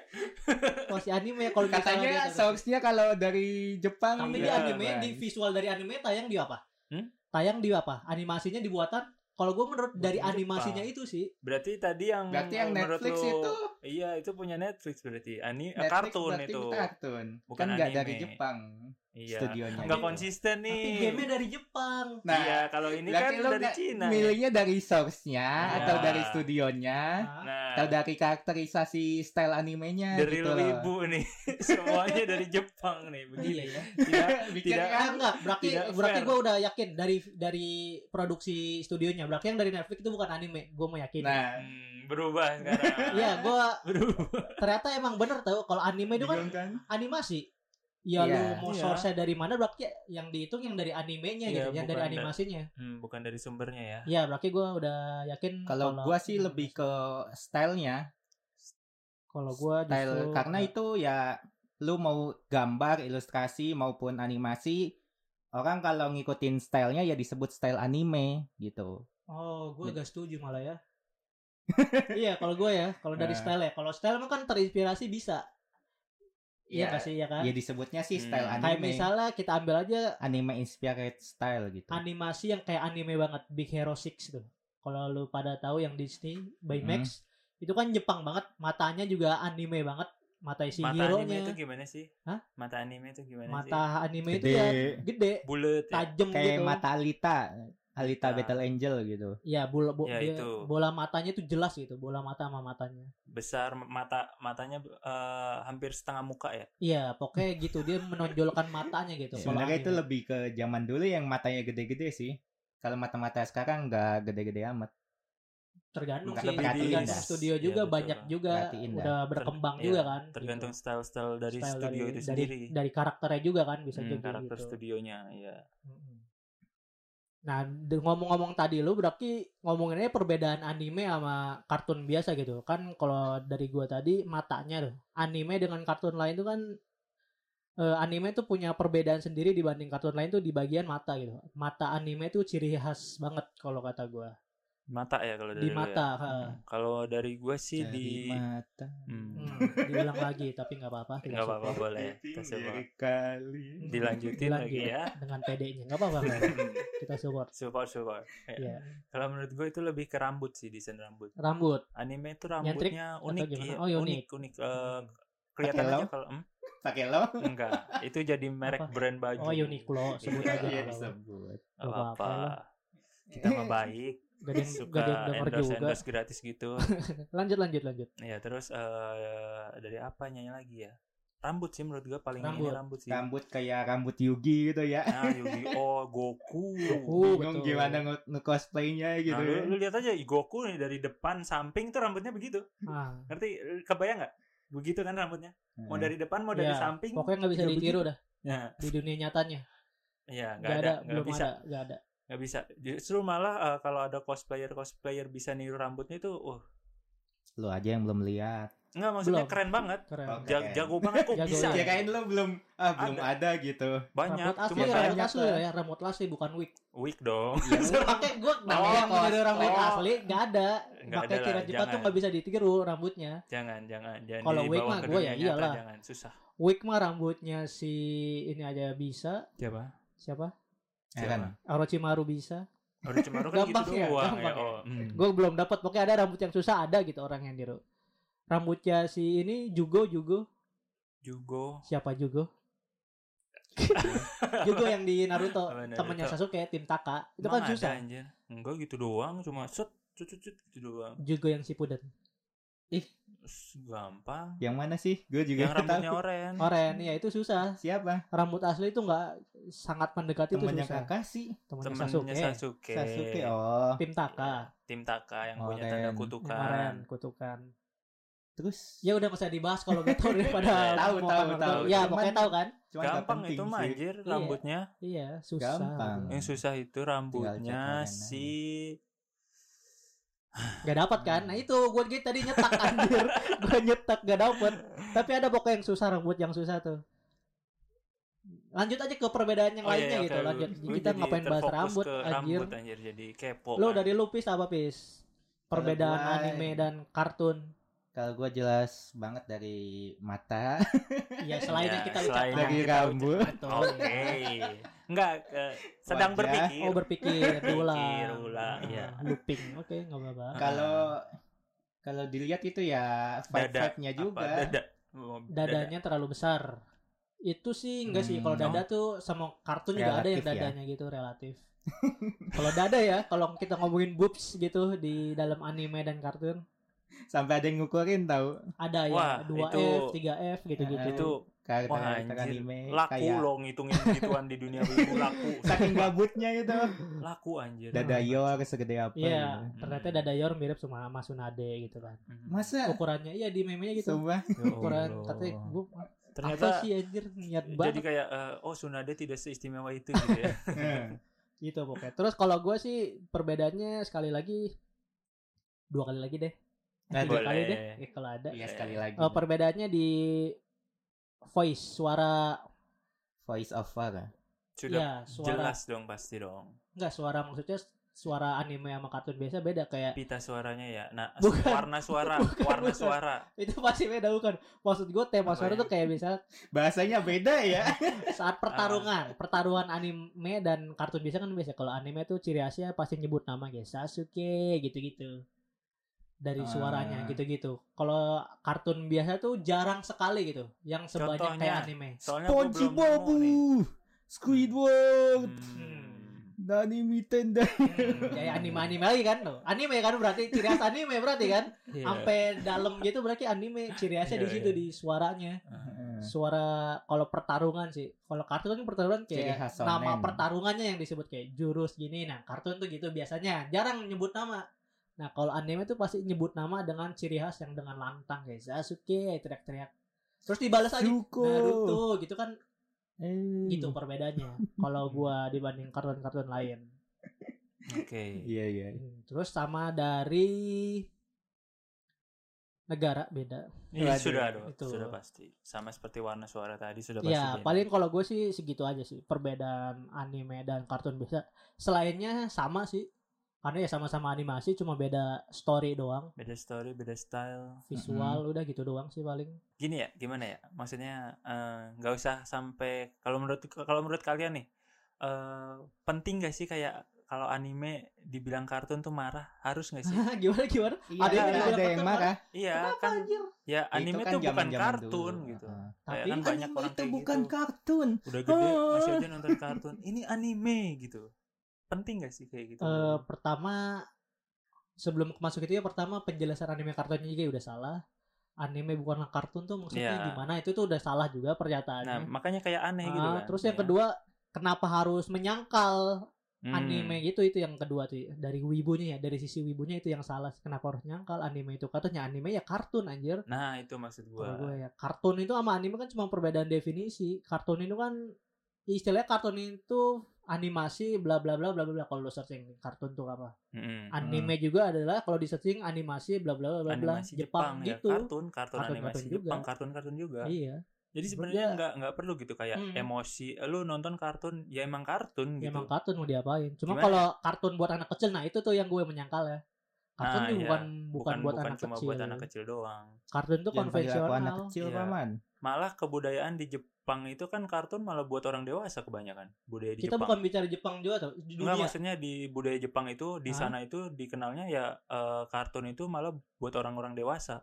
Speaker 4: Masih anime ya, kalau misalnya
Speaker 5: Katanya
Speaker 4: diadaptasi.
Speaker 5: source-nya kalau dari Jepang
Speaker 4: Tapi di
Speaker 3: Iya,
Speaker 4: anime, di visual dari anime tayang di apa?
Speaker 3: Hmm?
Speaker 4: Tayang di apa? Animasinya di buatan? Kalau gue menurut
Speaker 3: Buatan
Speaker 4: dari
Speaker 3: Jepang.
Speaker 4: animasinya itu sih.
Speaker 3: Berarti tadi yang
Speaker 5: Berarti yang
Speaker 3: Oh, menurut
Speaker 5: Netflix
Speaker 3: lu-
Speaker 5: itu
Speaker 3: Iya, itu punya Netflix berarti. Ani eh,
Speaker 5: Netflix
Speaker 3: kartun
Speaker 5: berarti
Speaker 3: itu.
Speaker 5: kartun.
Speaker 3: Bukan
Speaker 5: kan nggak
Speaker 3: anime.
Speaker 5: dari Jepang
Speaker 3: Iya.
Speaker 5: studionya.
Speaker 3: Nggak
Speaker 5: gitu.
Speaker 3: konsisten nih.
Speaker 4: Tapi game-nya dari Jepang.
Speaker 5: Nah,
Speaker 3: iya, kalau ini kan
Speaker 5: berarti lu
Speaker 3: dari
Speaker 5: nggak-
Speaker 3: Cina.
Speaker 5: Milihnya dari source-nya
Speaker 4: Iya.
Speaker 5: atau dari studionya
Speaker 3: Nah,
Speaker 5: atau dari karakterisasi style animenya
Speaker 3: dari
Speaker 5: gitu loh.
Speaker 3: ibu nih. Semuanya dari Jepang nih begini.
Speaker 4: iya.
Speaker 3: Tidak
Speaker 5: Bikin
Speaker 3: Tidak-
Speaker 4: Ah,
Speaker 5: kan
Speaker 4: enggak, berarti
Speaker 3: nah, ya. Tidak
Speaker 4: berarti
Speaker 3: fair.
Speaker 4: gue udah yakin dari dari produksi studionya. Berarti yang dari Netflix itu bukan anime. Gue mau yakin.
Speaker 5: Nah,
Speaker 3: hmm, berubah sekarang.
Speaker 4: Iya, gue
Speaker 3: berubah.
Speaker 4: ternyata emang bener tau. Kalau anime itu kan
Speaker 5: bingung kan?
Speaker 4: animasi. Ya
Speaker 5: Iya.
Speaker 4: lu mau
Speaker 3: Iya.
Speaker 4: source dari mana berarti yang dihitung yang dari animenya
Speaker 3: Iya,
Speaker 4: gitu, yang dari
Speaker 3: bukan dari-
Speaker 4: animasinya.
Speaker 3: Hmm, bukan dari sumbernya ya.
Speaker 4: Iya, berarti gue udah yakin
Speaker 5: Kalau gua sih lebih ke stylenya,
Speaker 4: kalau gua
Speaker 5: style
Speaker 4: justru
Speaker 5: karena itu ya lu mau gambar, ilustrasi maupun animasi orang kalau ngikutin stylenya ya disebut style anime gitu.
Speaker 4: Oh, gue
Speaker 5: Jadi-
Speaker 4: gak setuju malah ya. iya, kalau gue ya, kalau dari
Speaker 5: Nah.
Speaker 4: style ya. Kalau style mah kan terinspirasi bisa.
Speaker 5: Ya,
Speaker 4: Iya nggak sih, ya kan?
Speaker 5: Ya disebutnya sih style
Speaker 3: Hmm.
Speaker 4: kayak
Speaker 5: anime.
Speaker 4: misalnya kita ambil aja
Speaker 5: anime inspired style gitu.
Speaker 4: animasi yang kayak anime banget, Big Hero 6 tuh. Kalau lu pada tahu yang Disney Baymax,
Speaker 5: Hmm.
Speaker 4: itu kan Jepang banget, matanya juga anime banget, mata si
Speaker 3: Mata anime itu
Speaker 4: hero-nya.
Speaker 3: gimana sih?
Speaker 4: Hah?
Speaker 3: Mata anime itu gimana sih?
Speaker 4: Mata anime itu
Speaker 5: Gede.
Speaker 4: ya gede,
Speaker 3: Bulat ya.
Speaker 4: tajam
Speaker 5: Kayak
Speaker 4: gitu. Iya.
Speaker 5: mata Alita, Alita
Speaker 3: Nah.
Speaker 5: Battle Angel gitu.
Speaker 4: Ya, bola, bo-
Speaker 3: Ya,
Speaker 4: dia-
Speaker 3: itu.
Speaker 4: bola matanya itu jelas gitu, bola mata sama matanya.
Speaker 3: Besar mata matanya eh, hampir setengah muka ya.
Speaker 4: Iya, pokoknya gitu dia menonjolkan matanya gitu. Kalau
Speaker 5: Sebenarnya itu
Speaker 4: anime.
Speaker 5: lebih ke zaman dulu yang matanya gede-gede sih. Kalau mata-mata sekarang nggak gede-gede amat.
Speaker 4: tergantung
Speaker 5: Bukan
Speaker 4: sih,
Speaker 5: lebih di-
Speaker 4: tergantung
Speaker 5: Yes.
Speaker 4: studio
Speaker 3: Iya,
Speaker 4: juga
Speaker 3: betul.
Speaker 4: banyak juga
Speaker 5: Perhatiin dah.
Speaker 4: udah berkembang
Speaker 3: Ter-
Speaker 4: juga
Speaker 3: iya,
Speaker 4: kan.
Speaker 3: Tergantung
Speaker 4: gitu.
Speaker 3: style-style dari
Speaker 4: Style
Speaker 3: studio itu
Speaker 4: dari-
Speaker 3: sendiri.
Speaker 4: dari karakternya juga kan bisa
Speaker 3: Hmm,
Speaker 4: jadi
Speaker 3: karakter
Speaker 4: gitu.
Speaker 3: studionya ya.
Speaker 4: Mm-mm. Nah, de- ngomong-ngomong tadi lu berarti ngomonginnya perbedaan anime sama kartun biasa gitu. Kan kalau dari gua tadi matanya tuh. Anime dengan kartun lain tuh kan eh, anime tuh punya perbedaan sendiri dibanding kartun lain tuh di bagian mata gitu. Mata anime tuh ciri khas banget kalau kata gua.
Speaker 3: Mata ya kalau dari
Speaker 4: Di
Speaker 3: lu ya.
Speaker 4: mata,
Speaker 3: Hmm.
Speaker 4: heeh.
Speaker 3: Kalau dari gua sih
Speaker 5: Dari
Speaker 3: di
Speaker 5: mata.
Speaker 3: Hmm,
Speaker 4: Hmm, diulang lagi tapi nggak apa-apa. tidak
Speaker 3: nggak apa-apa
Speaker 4: sopan.
Speaker 3: boleh. ya. Kita support.
Speaker 5: kali.
Speaker 3: Dilanjutin lagi
Speaker 4: Dilanjut.
Speaker 3: ya. Hmm,
Speaker 4: Dengan PD-nya nggak apa-apa. nggak apa-apa. Kita support.
Speaker 3: Support support. Ya.
Speaker 4: Iya.
Speaker 3: Kalau menurut gua itu lebih ke rambut sih desain rambut.
Speaker 4: Rambut.
Speaker 3: Anime itu
Speaker 4: Nyentrik
Speaker 3: rambutnya unik
Speaker 4: gimana?
Speaker 3: iya,
Speaker 4: Oh, iya,
Speaker 3: unik unik. Eh, kelihatan
Speaker 5: Hello?
Speaker 3: aja kalau hmm?
Speaker 5: Pakai lo?
Speaker 3: enggak. Itu jadi merek
Speaker 4: Apa?
Speaker 3: brand baju.
Speaker 4: Oh Uniqlo sebut
Speaker 3: Iya,
Speaker 4: aja.
Speaker 3: iya,
Speaker 4: nggak apa-apa.
Speaker 5: disebut.
Speaker 3: Nggak
Speaker 4: Nggak
Speaker 3: apa-apa.
Speaker 4: apa-apa lah.
Speaker 3: Kita mah baik.
Speaker 4: Gak ada yang
Speaker 3: Suka
Speaker 4: gak ada yang denger
Speaker 3: endorse
Speaker 4: juga.
Speaker 3: endorse gratis gitu. Iya,
Speaker 4: Lanjut lanjut lanjut.
Speaker 3: Ya terus eh dari apa nyanyi lagi ya? rambut sih menurut gue paling ini
Speaker 4: Rambut.
Speaker 3: rambut sih
Speaker 5: Rambut kayak rambut Yugi gitu ya.
Speaker 3: nah Yu-Gi-Oh Goku
Speaker 4: Goku. Oh,
Speaker 5: Bingung
Speaker 4: betul.
Speaker 5: gimana nge- nge-cosplaynya
Speaker 3: Uh, Nah,
Speaker 5: gitu
Speaker 3: lu,
Speaker 5: ya.
Speaker 3: lu lihat aja Goku nih dari depan samping tuh rambutnya begitu
Speaker 4: Ah,
Speaker 3: ngerti kebayang nggak begitu kan rambutnya mau
Speaker 5: Heeh.
Speaker 3: dari depan mau dari
Speaker 4: Ya,
Speaker 3: samping
Speaker 4: pokoknya nggak bisa
Speaker 3: udah
Speaker 4: ditiru dah
Speaker 3: nah
Speaker 4: di dunia nyatanya.
Speaker 3: ya nggak
Speaker 4: Nggak
Speaker 3: ada
Speaker 4: ada,
Speaker 3: nggak
Speaker 4: belum
Speaker 3: bisa
Speaker 4: ada, nggak ada.
Speaker 3: nggak bisa justru malah eh, kalau ada cosplayer cosplayer bisa niru rambutnya itu uh
Speaker 5: Lu aja yang belum lihat.
Speaker 3: nggak maksudnya
Speaker 4: Belum.
Speaker 3: keren banget
Speaker 4: Keren.
Speaker 5: Oke.
Speaker 3: Ja- jago banget kok
Speaker 4: Jago,
Speaker 3: bisa
Speaker 5: Ya kayak lu belum ah belum ada gitu.
Speaker 3: banyak
Speaker 4: Rambut asli,
Speaker 3: cuma
Speaker 5: ya,
Speaker 3: kayak
Speaker 4: rambut
Speaker 5: banyak
Speaker 4: asli
Speaker 5: lah.
Speaker 4: ya, rambut asli bukan wig.
Speaker 3: weak dong
Speaker 5: Iya, lu
Speaker 4: pakai gue namanya
Speaker 5: kos.
Speaker 4: meniru rambut
Speaker 3: Oh.
Speaker 4: asli nggak ada.
Speaker 3: Nggak
Speaker 4: Pakai
Speaker 3: ada lah,
Speaker 4: tiran cepat tuh
Speaker 3: jangan.
Speaker 4: nggak bisa ditiru rambutnya.
Speaker 3: jangan jangan jangan
Speaker 4: Kalau
Speaker 3: dibawa
Speaker 4: wig mah
Speaker 3: ke
Speaker 4: gua
Speaker 3: dunia
Speaker 4: ya
Speaker 3: nyata,
Speaker 4: iyalah.
Speaker 3: jangan susah
Speaker 4: Wig mah rambutnya si ini aja bisa.
Speaker 3: coba
Speaker 4: Siapa?
Speaker 5: Heran.
Speaker 4: Orochimaru bisa.
Speaker 3: Udah cuma kan gitu
Speaker 4: Ya kan? Gampang
Speaker 3: doang
Speaker 4: ya,
Speaker 3: ya.
Speaker 4: gampang ya.
Speaker 3: Oh, mm.
Speaker 4: Gue belum dapat. Pokoknya ada rambut yang susah ada gitu orang yang niru. Rambutnya si ini Jugo Jugo
Speaker 3: Jugo.
Speaker 4: siapa Jugo? Jugo yang di Naruto
Speaker 3: Apa Naruto?
Speaker 4: temennya Sasuke tim Taka itu
Speaker 3: Emang
Speaker 4: kan
Speaker 3: ada,
Speaker 4: susah.
Speaker 3: anjir. Enggak gitu doang, cuma set cut cut cut gitu doang.
Speaker 4: Jugo yang Shippuden.
Speaker 3: Us, Gampang.
Speaker 5: Yang mana sih? Gue juga
Speaker 4: Iya,
Speaker 3: Yang
Speaker 5: nggak
Speaker 3: rambutnya
Speaker 5: tahu.
Speaker 3: oren.
Speaker 4: Oren ya itu susah.
Speaker 5: Siapa?
Speaker 4: Rambut asli itu nggak sangat mendekati itu
Speaker 5: Temennya
Speaker 4: susah.
Speaker 5: Kakashi.
Speaker 4: Temennya Sasuke.
Speaker 3: Temennya Sasuke.
Speaker 5: Sasuke. Oh.
Speaker 4: Tim Taka.
Speaker 3: Tim Taka
Speaker 4: Oh,
Speaker 3: yang punya
Speaker 5: Oren.
Speaker 3: tanda
Speaker 4: Yang
Speaker 3: kutukan.
Speaker 4: Oren kutukan.
Speaker 5: Terus
Speaker 4: Ya udah nggak usah dibahas kalau nggak tahu
Speaker 3: Iya,
Speaker 4: daripada
Speaker 5: Tahu,
Speaker 4: mau
Speaker 5: tahu,
Speaker 4: nonton.
Speaker 5: tahu.
Speaker 4: Ya
Speaker 5: Cuman-
Speaker 4: pokoknya tahu kan?
Speaker 5: Cuman nggak
Speaker 3: Gampang
Speaker 5: penting
Speaker 3: itu mah
Speaker 5: sih.
Speaker 3: anjir
Speaker 4: Iya. Hmm.
Speaker 3: rambutnya.
Speaker 4: Iya susah.
Speaker 5: Gampang.
Speaker 3: Yang susah itu rambutnya
Speaker 5: warna.
Speaker 3: si
Speaker 4: Gak dapat kan? Nah itu gue gitu tadi nyetak anjir. gue nyetak gak dapet. Tapi ada pokoknya yang susah rambut yang susah tuh. Lanjut aja ke perbedaan yang
Speaker 3: Oh, iya,
Speaker 4: lainnya
Speaker 3: iya,
Speaker 4: gitu.
Speaker 3: oke.
Speaker 4: Lanjut.
Speaker 3: Gua
Speaker 4: Kita
Speaker 3: jadi
Speaker 4: ngapain bahas
Speaker 3: terfokus
Speaker 4: rambut
Speaker 3: ke
Speaker 4: anjir.
Speaker 3: rambut anjir jadi kepo.
Speaker 4: Lo
Speaker 3: kan.
Speaker 4: dari lu pis apa pis? Perbedaan
Speaker 5: gua-
Speaker 4: anime dan kartun.
Speaker 5: Kalau gue jelas banget dari mata,
Speaker 4: Ya selain
Speaker 3: Ya,
Speaker 4: yang kita
Speaker 3: selain
Speaker 4: ucapkan.
Speaker 5: dari
Speaker 3: kita
Speaker 5: rambut.
Speaker 4: Betul.
Speaker 3: Oke. Enggak eh, sedang
Speaker 5: Wajah.
Speaker 3: berpikir.
Speaker 4: Oh berpikir
Speaker 3: Pikir
Speaker 4: ulang.
Speaker 3: ulang, iya.
Speaker 4: Ah, Looping. Oke nggak apa-apa.
Speaker 5: Kalau kalau dilihat itu ya
Speaker 3: Ah. Dada.
Speaker 5: vibe-vibe-nya juga.
Speaker 3: Apa? Dada. Oh, dada.
Speaker 4: dadanya terlalu besar itu sih enggak sih
Speaker 5: Hmm,
Speaker 4: kalau dada tuh sama kartun juga ada yang
Speaker 5: Relatif ya.
Speaker 4: dadanya gitu relatif kalau dada ya kalau kita ngomongin boobs gitu di dalam anime dan kartun
Speaker 5: Sampai ada yang ngukurin tahu.
Speaker 4: ada
Speaker 3: Wah,
Speaker 4: ya 2F,
Speaker 3: itu-
Speaker 4: 3F gitu-gitu.
Speaker 5: Eh,
Speaker 3: itu
Speaker 5: Karena
Speaker 3: Wah,
Speaker 5: karakter
Speaker 3: anjir.
Speaker 5: anime
Speaker 3: laku
Speaker 5: kayak
Speaker 3: lo ngitungin gituan di dunia wibu laku
Speaker 5: saking babutnya gitu.
Speaker 3: laku anjir
Speaker 5: Dada yor segede apa.
Speaker 4: Iya,
Speaker 3: ya?
Speaker 5: gitu.
Speaker 4: ternyata
Speaker 3: Hmm.
Speaker 4: dada Yor mirip sama Mas Sunade gitu kan.
Speaker 5: Masa
Speaker 4: Ukurannya iya di meme-nya gitu.
Speaker 5: Sumpah.
Speaker 3: Ya Allah.
Speaker 4: Ukuran katanya gua
Speaker 3: Oh. ternyata
Speaker 4: apa sih anjir niat
Speaker 3: jadi
Speaker 4: banget
Speaker 3: kayak eh, oh Sunade tidak seistimewa itu gitu ya
Speaker 5: Heeh.
Speaker 4: gitu pokoknya. Terus kalau gua sih perbedaannya sekali lagi dua kali lagi deh. Eh,
Speaker 5: Nah,
Speaker 4: tiga kali
Speaker 3: boleh.
Speaker 4: deh. Eh, kalau ada
Speaker 5: Iya sekali lagi.
Speaker 4: Eh, perbedaannya di voice suara
Speaker 5: Voice over.
Speaker 3: sudah
Speaker 4: ya suara
Speaker 3: jelas dong pasti dong
Speaker 4: enggak suara maksudnya suara anime sama kartun biasa beda kayak
Speaker 3: pita suaranya ya nah
Speaker 4: Bukan.
Speaker 3: warna suara
Speaker 4: Bukan,
Speaker 3: warna
Speaker 4: bukan.
Speaker 3: suara
Speaker 4: itu pasti beda bukan maksud gue tema
Speaker 3: Apa
Speaker 4: suara
Speaker 3: ya?
Speaker 4: tuh kayak misalnya
Speaker 5: Bahasanya beda ya.
Speaker 3: Nah, Ah.
Speaker 4: saat pertarungan pertarungan anime dan kartun biasa kan biasa kalau anime tuh ciri khasnya pasti nyebut nama kayak Sasuke gitu-gitu dari
Speaker 5: Ah.
Speaker 4: suaranya gitu-gitu kalau kartun biasa tuh jarang sekali gitu yang sebanyak
Speaker 3: Contohnya.
Speaker 4: kayak anime
Speaker 3: soalnya gua belum
Speaker 5: SpongeBob.
Speaker 3: nemu nih.
Speaker 5: Squidward.
Speaker 3: Hmm.
Speaker 5: Nani Mitenda.
Speaker 4: kayak anime-anime lagi kan tuh anime kan berarti ciri khas anime berarti kan
Speaker 3: Iya.
Speaker 4: sampai dalam gitu berarti anime ciri khasnya
Speaker 3: Iya,
Speaker 4: di situ
Speaker 3: iya.
Speaker 4: di suaranya suara kalau pertarungan sih kalau kartun kan pertarungan
Speaker 5: Ciri
Speaker 4: kayak
Speaker 5: khas shonen.
Speaker 4: nama pertarungannya yang disebut kayak jurus gini nah kartun tuh gitu biasanya jarang nyebut nama nah kalau anime tuh pasti nyebut nama dengan ciri khas yang dengan lantang kayak Sasuke teriak-teriak terus dibalas lagi
Speaker 5: Zuko.
Speaker 4: Naruto gitu kan
Speaker 5: Eh.
Speaker 4: gitu perbedaannya kalau gua dibanding kartun-kartun lain
Speaker 3: oke
Speaker 5: Iya iya.
Speaker 4: Hmm, terus sama dari negara beda
Speaker 3: Ini
Speaker 5: Waduh,
Speaker 3: sudah dong
Speaker 4: itu.
Speaker 3: sudah pasti sama seperti warna suara tadi sudah pasti
Speaker 4: Ya
Speaker 3: beda.
Speaker 4: paling kalau gue sih segitu aja sih perbedaan anime dan kartun biasa. Selainnya sama sih, karena ya sama-sama animasi cuma beda story doang,
Speaker 3: beda story beda style Mm-hmm.
Speaker 4: visual udah gitu doang sih paling.
Speaker 3: gini ya gimana ya maksudnya eh, nggak usah sampai kalau menurut kalau menurut kalian nih eh, penting gak sih kayak kalau anime dibilang kartun tuh marah harus gak sih
Speaker 4: gimana gimana?
Speaker 5: Iya, ada,
Speaker 4: yang bilang
Speaker 5: yang
Speaker 4: kartun
Speaker 5: marah.
Speaker 3: iya kan
Speaker 4: anjir?
Speaker 3: ya anime
Speaker 5: Itu kan
Speaker 3: tuh bukan
Speaker 5: zaman-zaman
Speaker 3: kartun
Speaker 5: dulu. Ah.
Speaker 3: gitu
Speaker 5: Heeh.
Speaker 3: Kayak
Speaker 4: Tapi
Speaker 3: kan banyak
Speaker 5: Anime
Speaker 3: orang
Speaker 5: itu
Speaker 3: kayak
Speaker 5: bukan
Speaker 3: gitu.
Speaker 5: kartun.
Speaker 3: udah gede masih
Speaker 5: Ah.
Speaker 3: aja nonton kartun ini anime gitu penting gak sih kayak gitu
Speaker 4: Eh, pertama sebelum masuk itu ya pertama penjelasan anime kartunnya juga udah salah. anime bukan kartun tuh maksudnya
Speaker 3: Iya.
Speaker 4: gimana itu tuh udah salah juga
Speaker 3: Nah,
Speaker 4: pernyataannya.
Speaker 3: makanya kayak aneh gitu
Speaker 4: Ah,
Speaker 3: kan.
Speaker 4: terus yang
Speaker 3: Iya.
Speaker 4: kedua kenapa harus menyangkal
Speaker 3: Hmm.
Speaker 4: anime gitu itu yang kedua tuh dari wibunya ya dari sisi wibunya itu yang salah kenapa harus nyangkal anime itu katanya anime ya kartun anjir
Speaker 3: Nah, itu maksud
Speaker 4: Kalau
Speaker 3: gua.
Speaker 4: gue ya kartun itu sama anime kan cuma perbedaan definisi kartun itu kan istilahnya kartun itu animasi bla bla bla bla bla kalau lo searching kartun tuh apa
Speaker 3: Mm-mm.
Speaker 4: anime juga adalah kalau di searching animasi bla bla bla bla
Speaker 3: Animasi Jepang, ya,
Speaker 4: Jepang, gitu
Speaker 3: kartun, kartun,
Speaker 4: Kartun-kartun
Speaker 3: animasi
Speaker 4: juga.
Speaker 3: Jepang, kartun-kartun juga.
Speaker 4: iya
Speaker 3: Jadi
Speaker 4: Sebenarnya-
Speaker 3: sebenarnya nggak nggak perlu gitu kayak
Speaker 4: Hmm.
Speaker 3: emosi. eh, Lu nonton kartun, ya emang kartun
Speaker 4: ya
Speaker 3: gitu.
Speaker 4: emang kartun mau diapain cuma
Speaker 3: Gimana? ya?
Speaker 4: kalau kartun buat anak kecil nah itu tuh yang gue menyangkal ya kartun
Speaker 3: Nah,
Speaker 4: tuh
Speaker 3: iya.
Speaker 4: bukan, bukan
Speaker 3: bukan
Speaker 4: buat
Speaker 3: bukan
Speaker 4: anak
Speaker 3: cuma
Speaker 4: kecil
Speaker 3: buat anak kecil doang.
Speaker 4: kartun tuh
Speaker 5: Jangan panggil aku
Speaker 4: konvensional
Speaker 5: anak kecil
Speaker 3: Iya.
Speaker 5: paman.
Speaker 3: Malah kebudayaan di Jepang itu kan kartun malah buat orang dewasa kebanyakan. Budaya di
Speaker 4: kita
Speaker 3: Jepang.
Speaker 4: bukan bicara Jepang juga tau di
Speaker 3: Enggak,
Speaker 4: dunia
Speaker 3: maksudnya di budaya Jepang itu di
Speaker 4: Hah?
Speaker 3: sana itu dikenalnya ya eh, kartun itu malah buat orang-orang dewasa.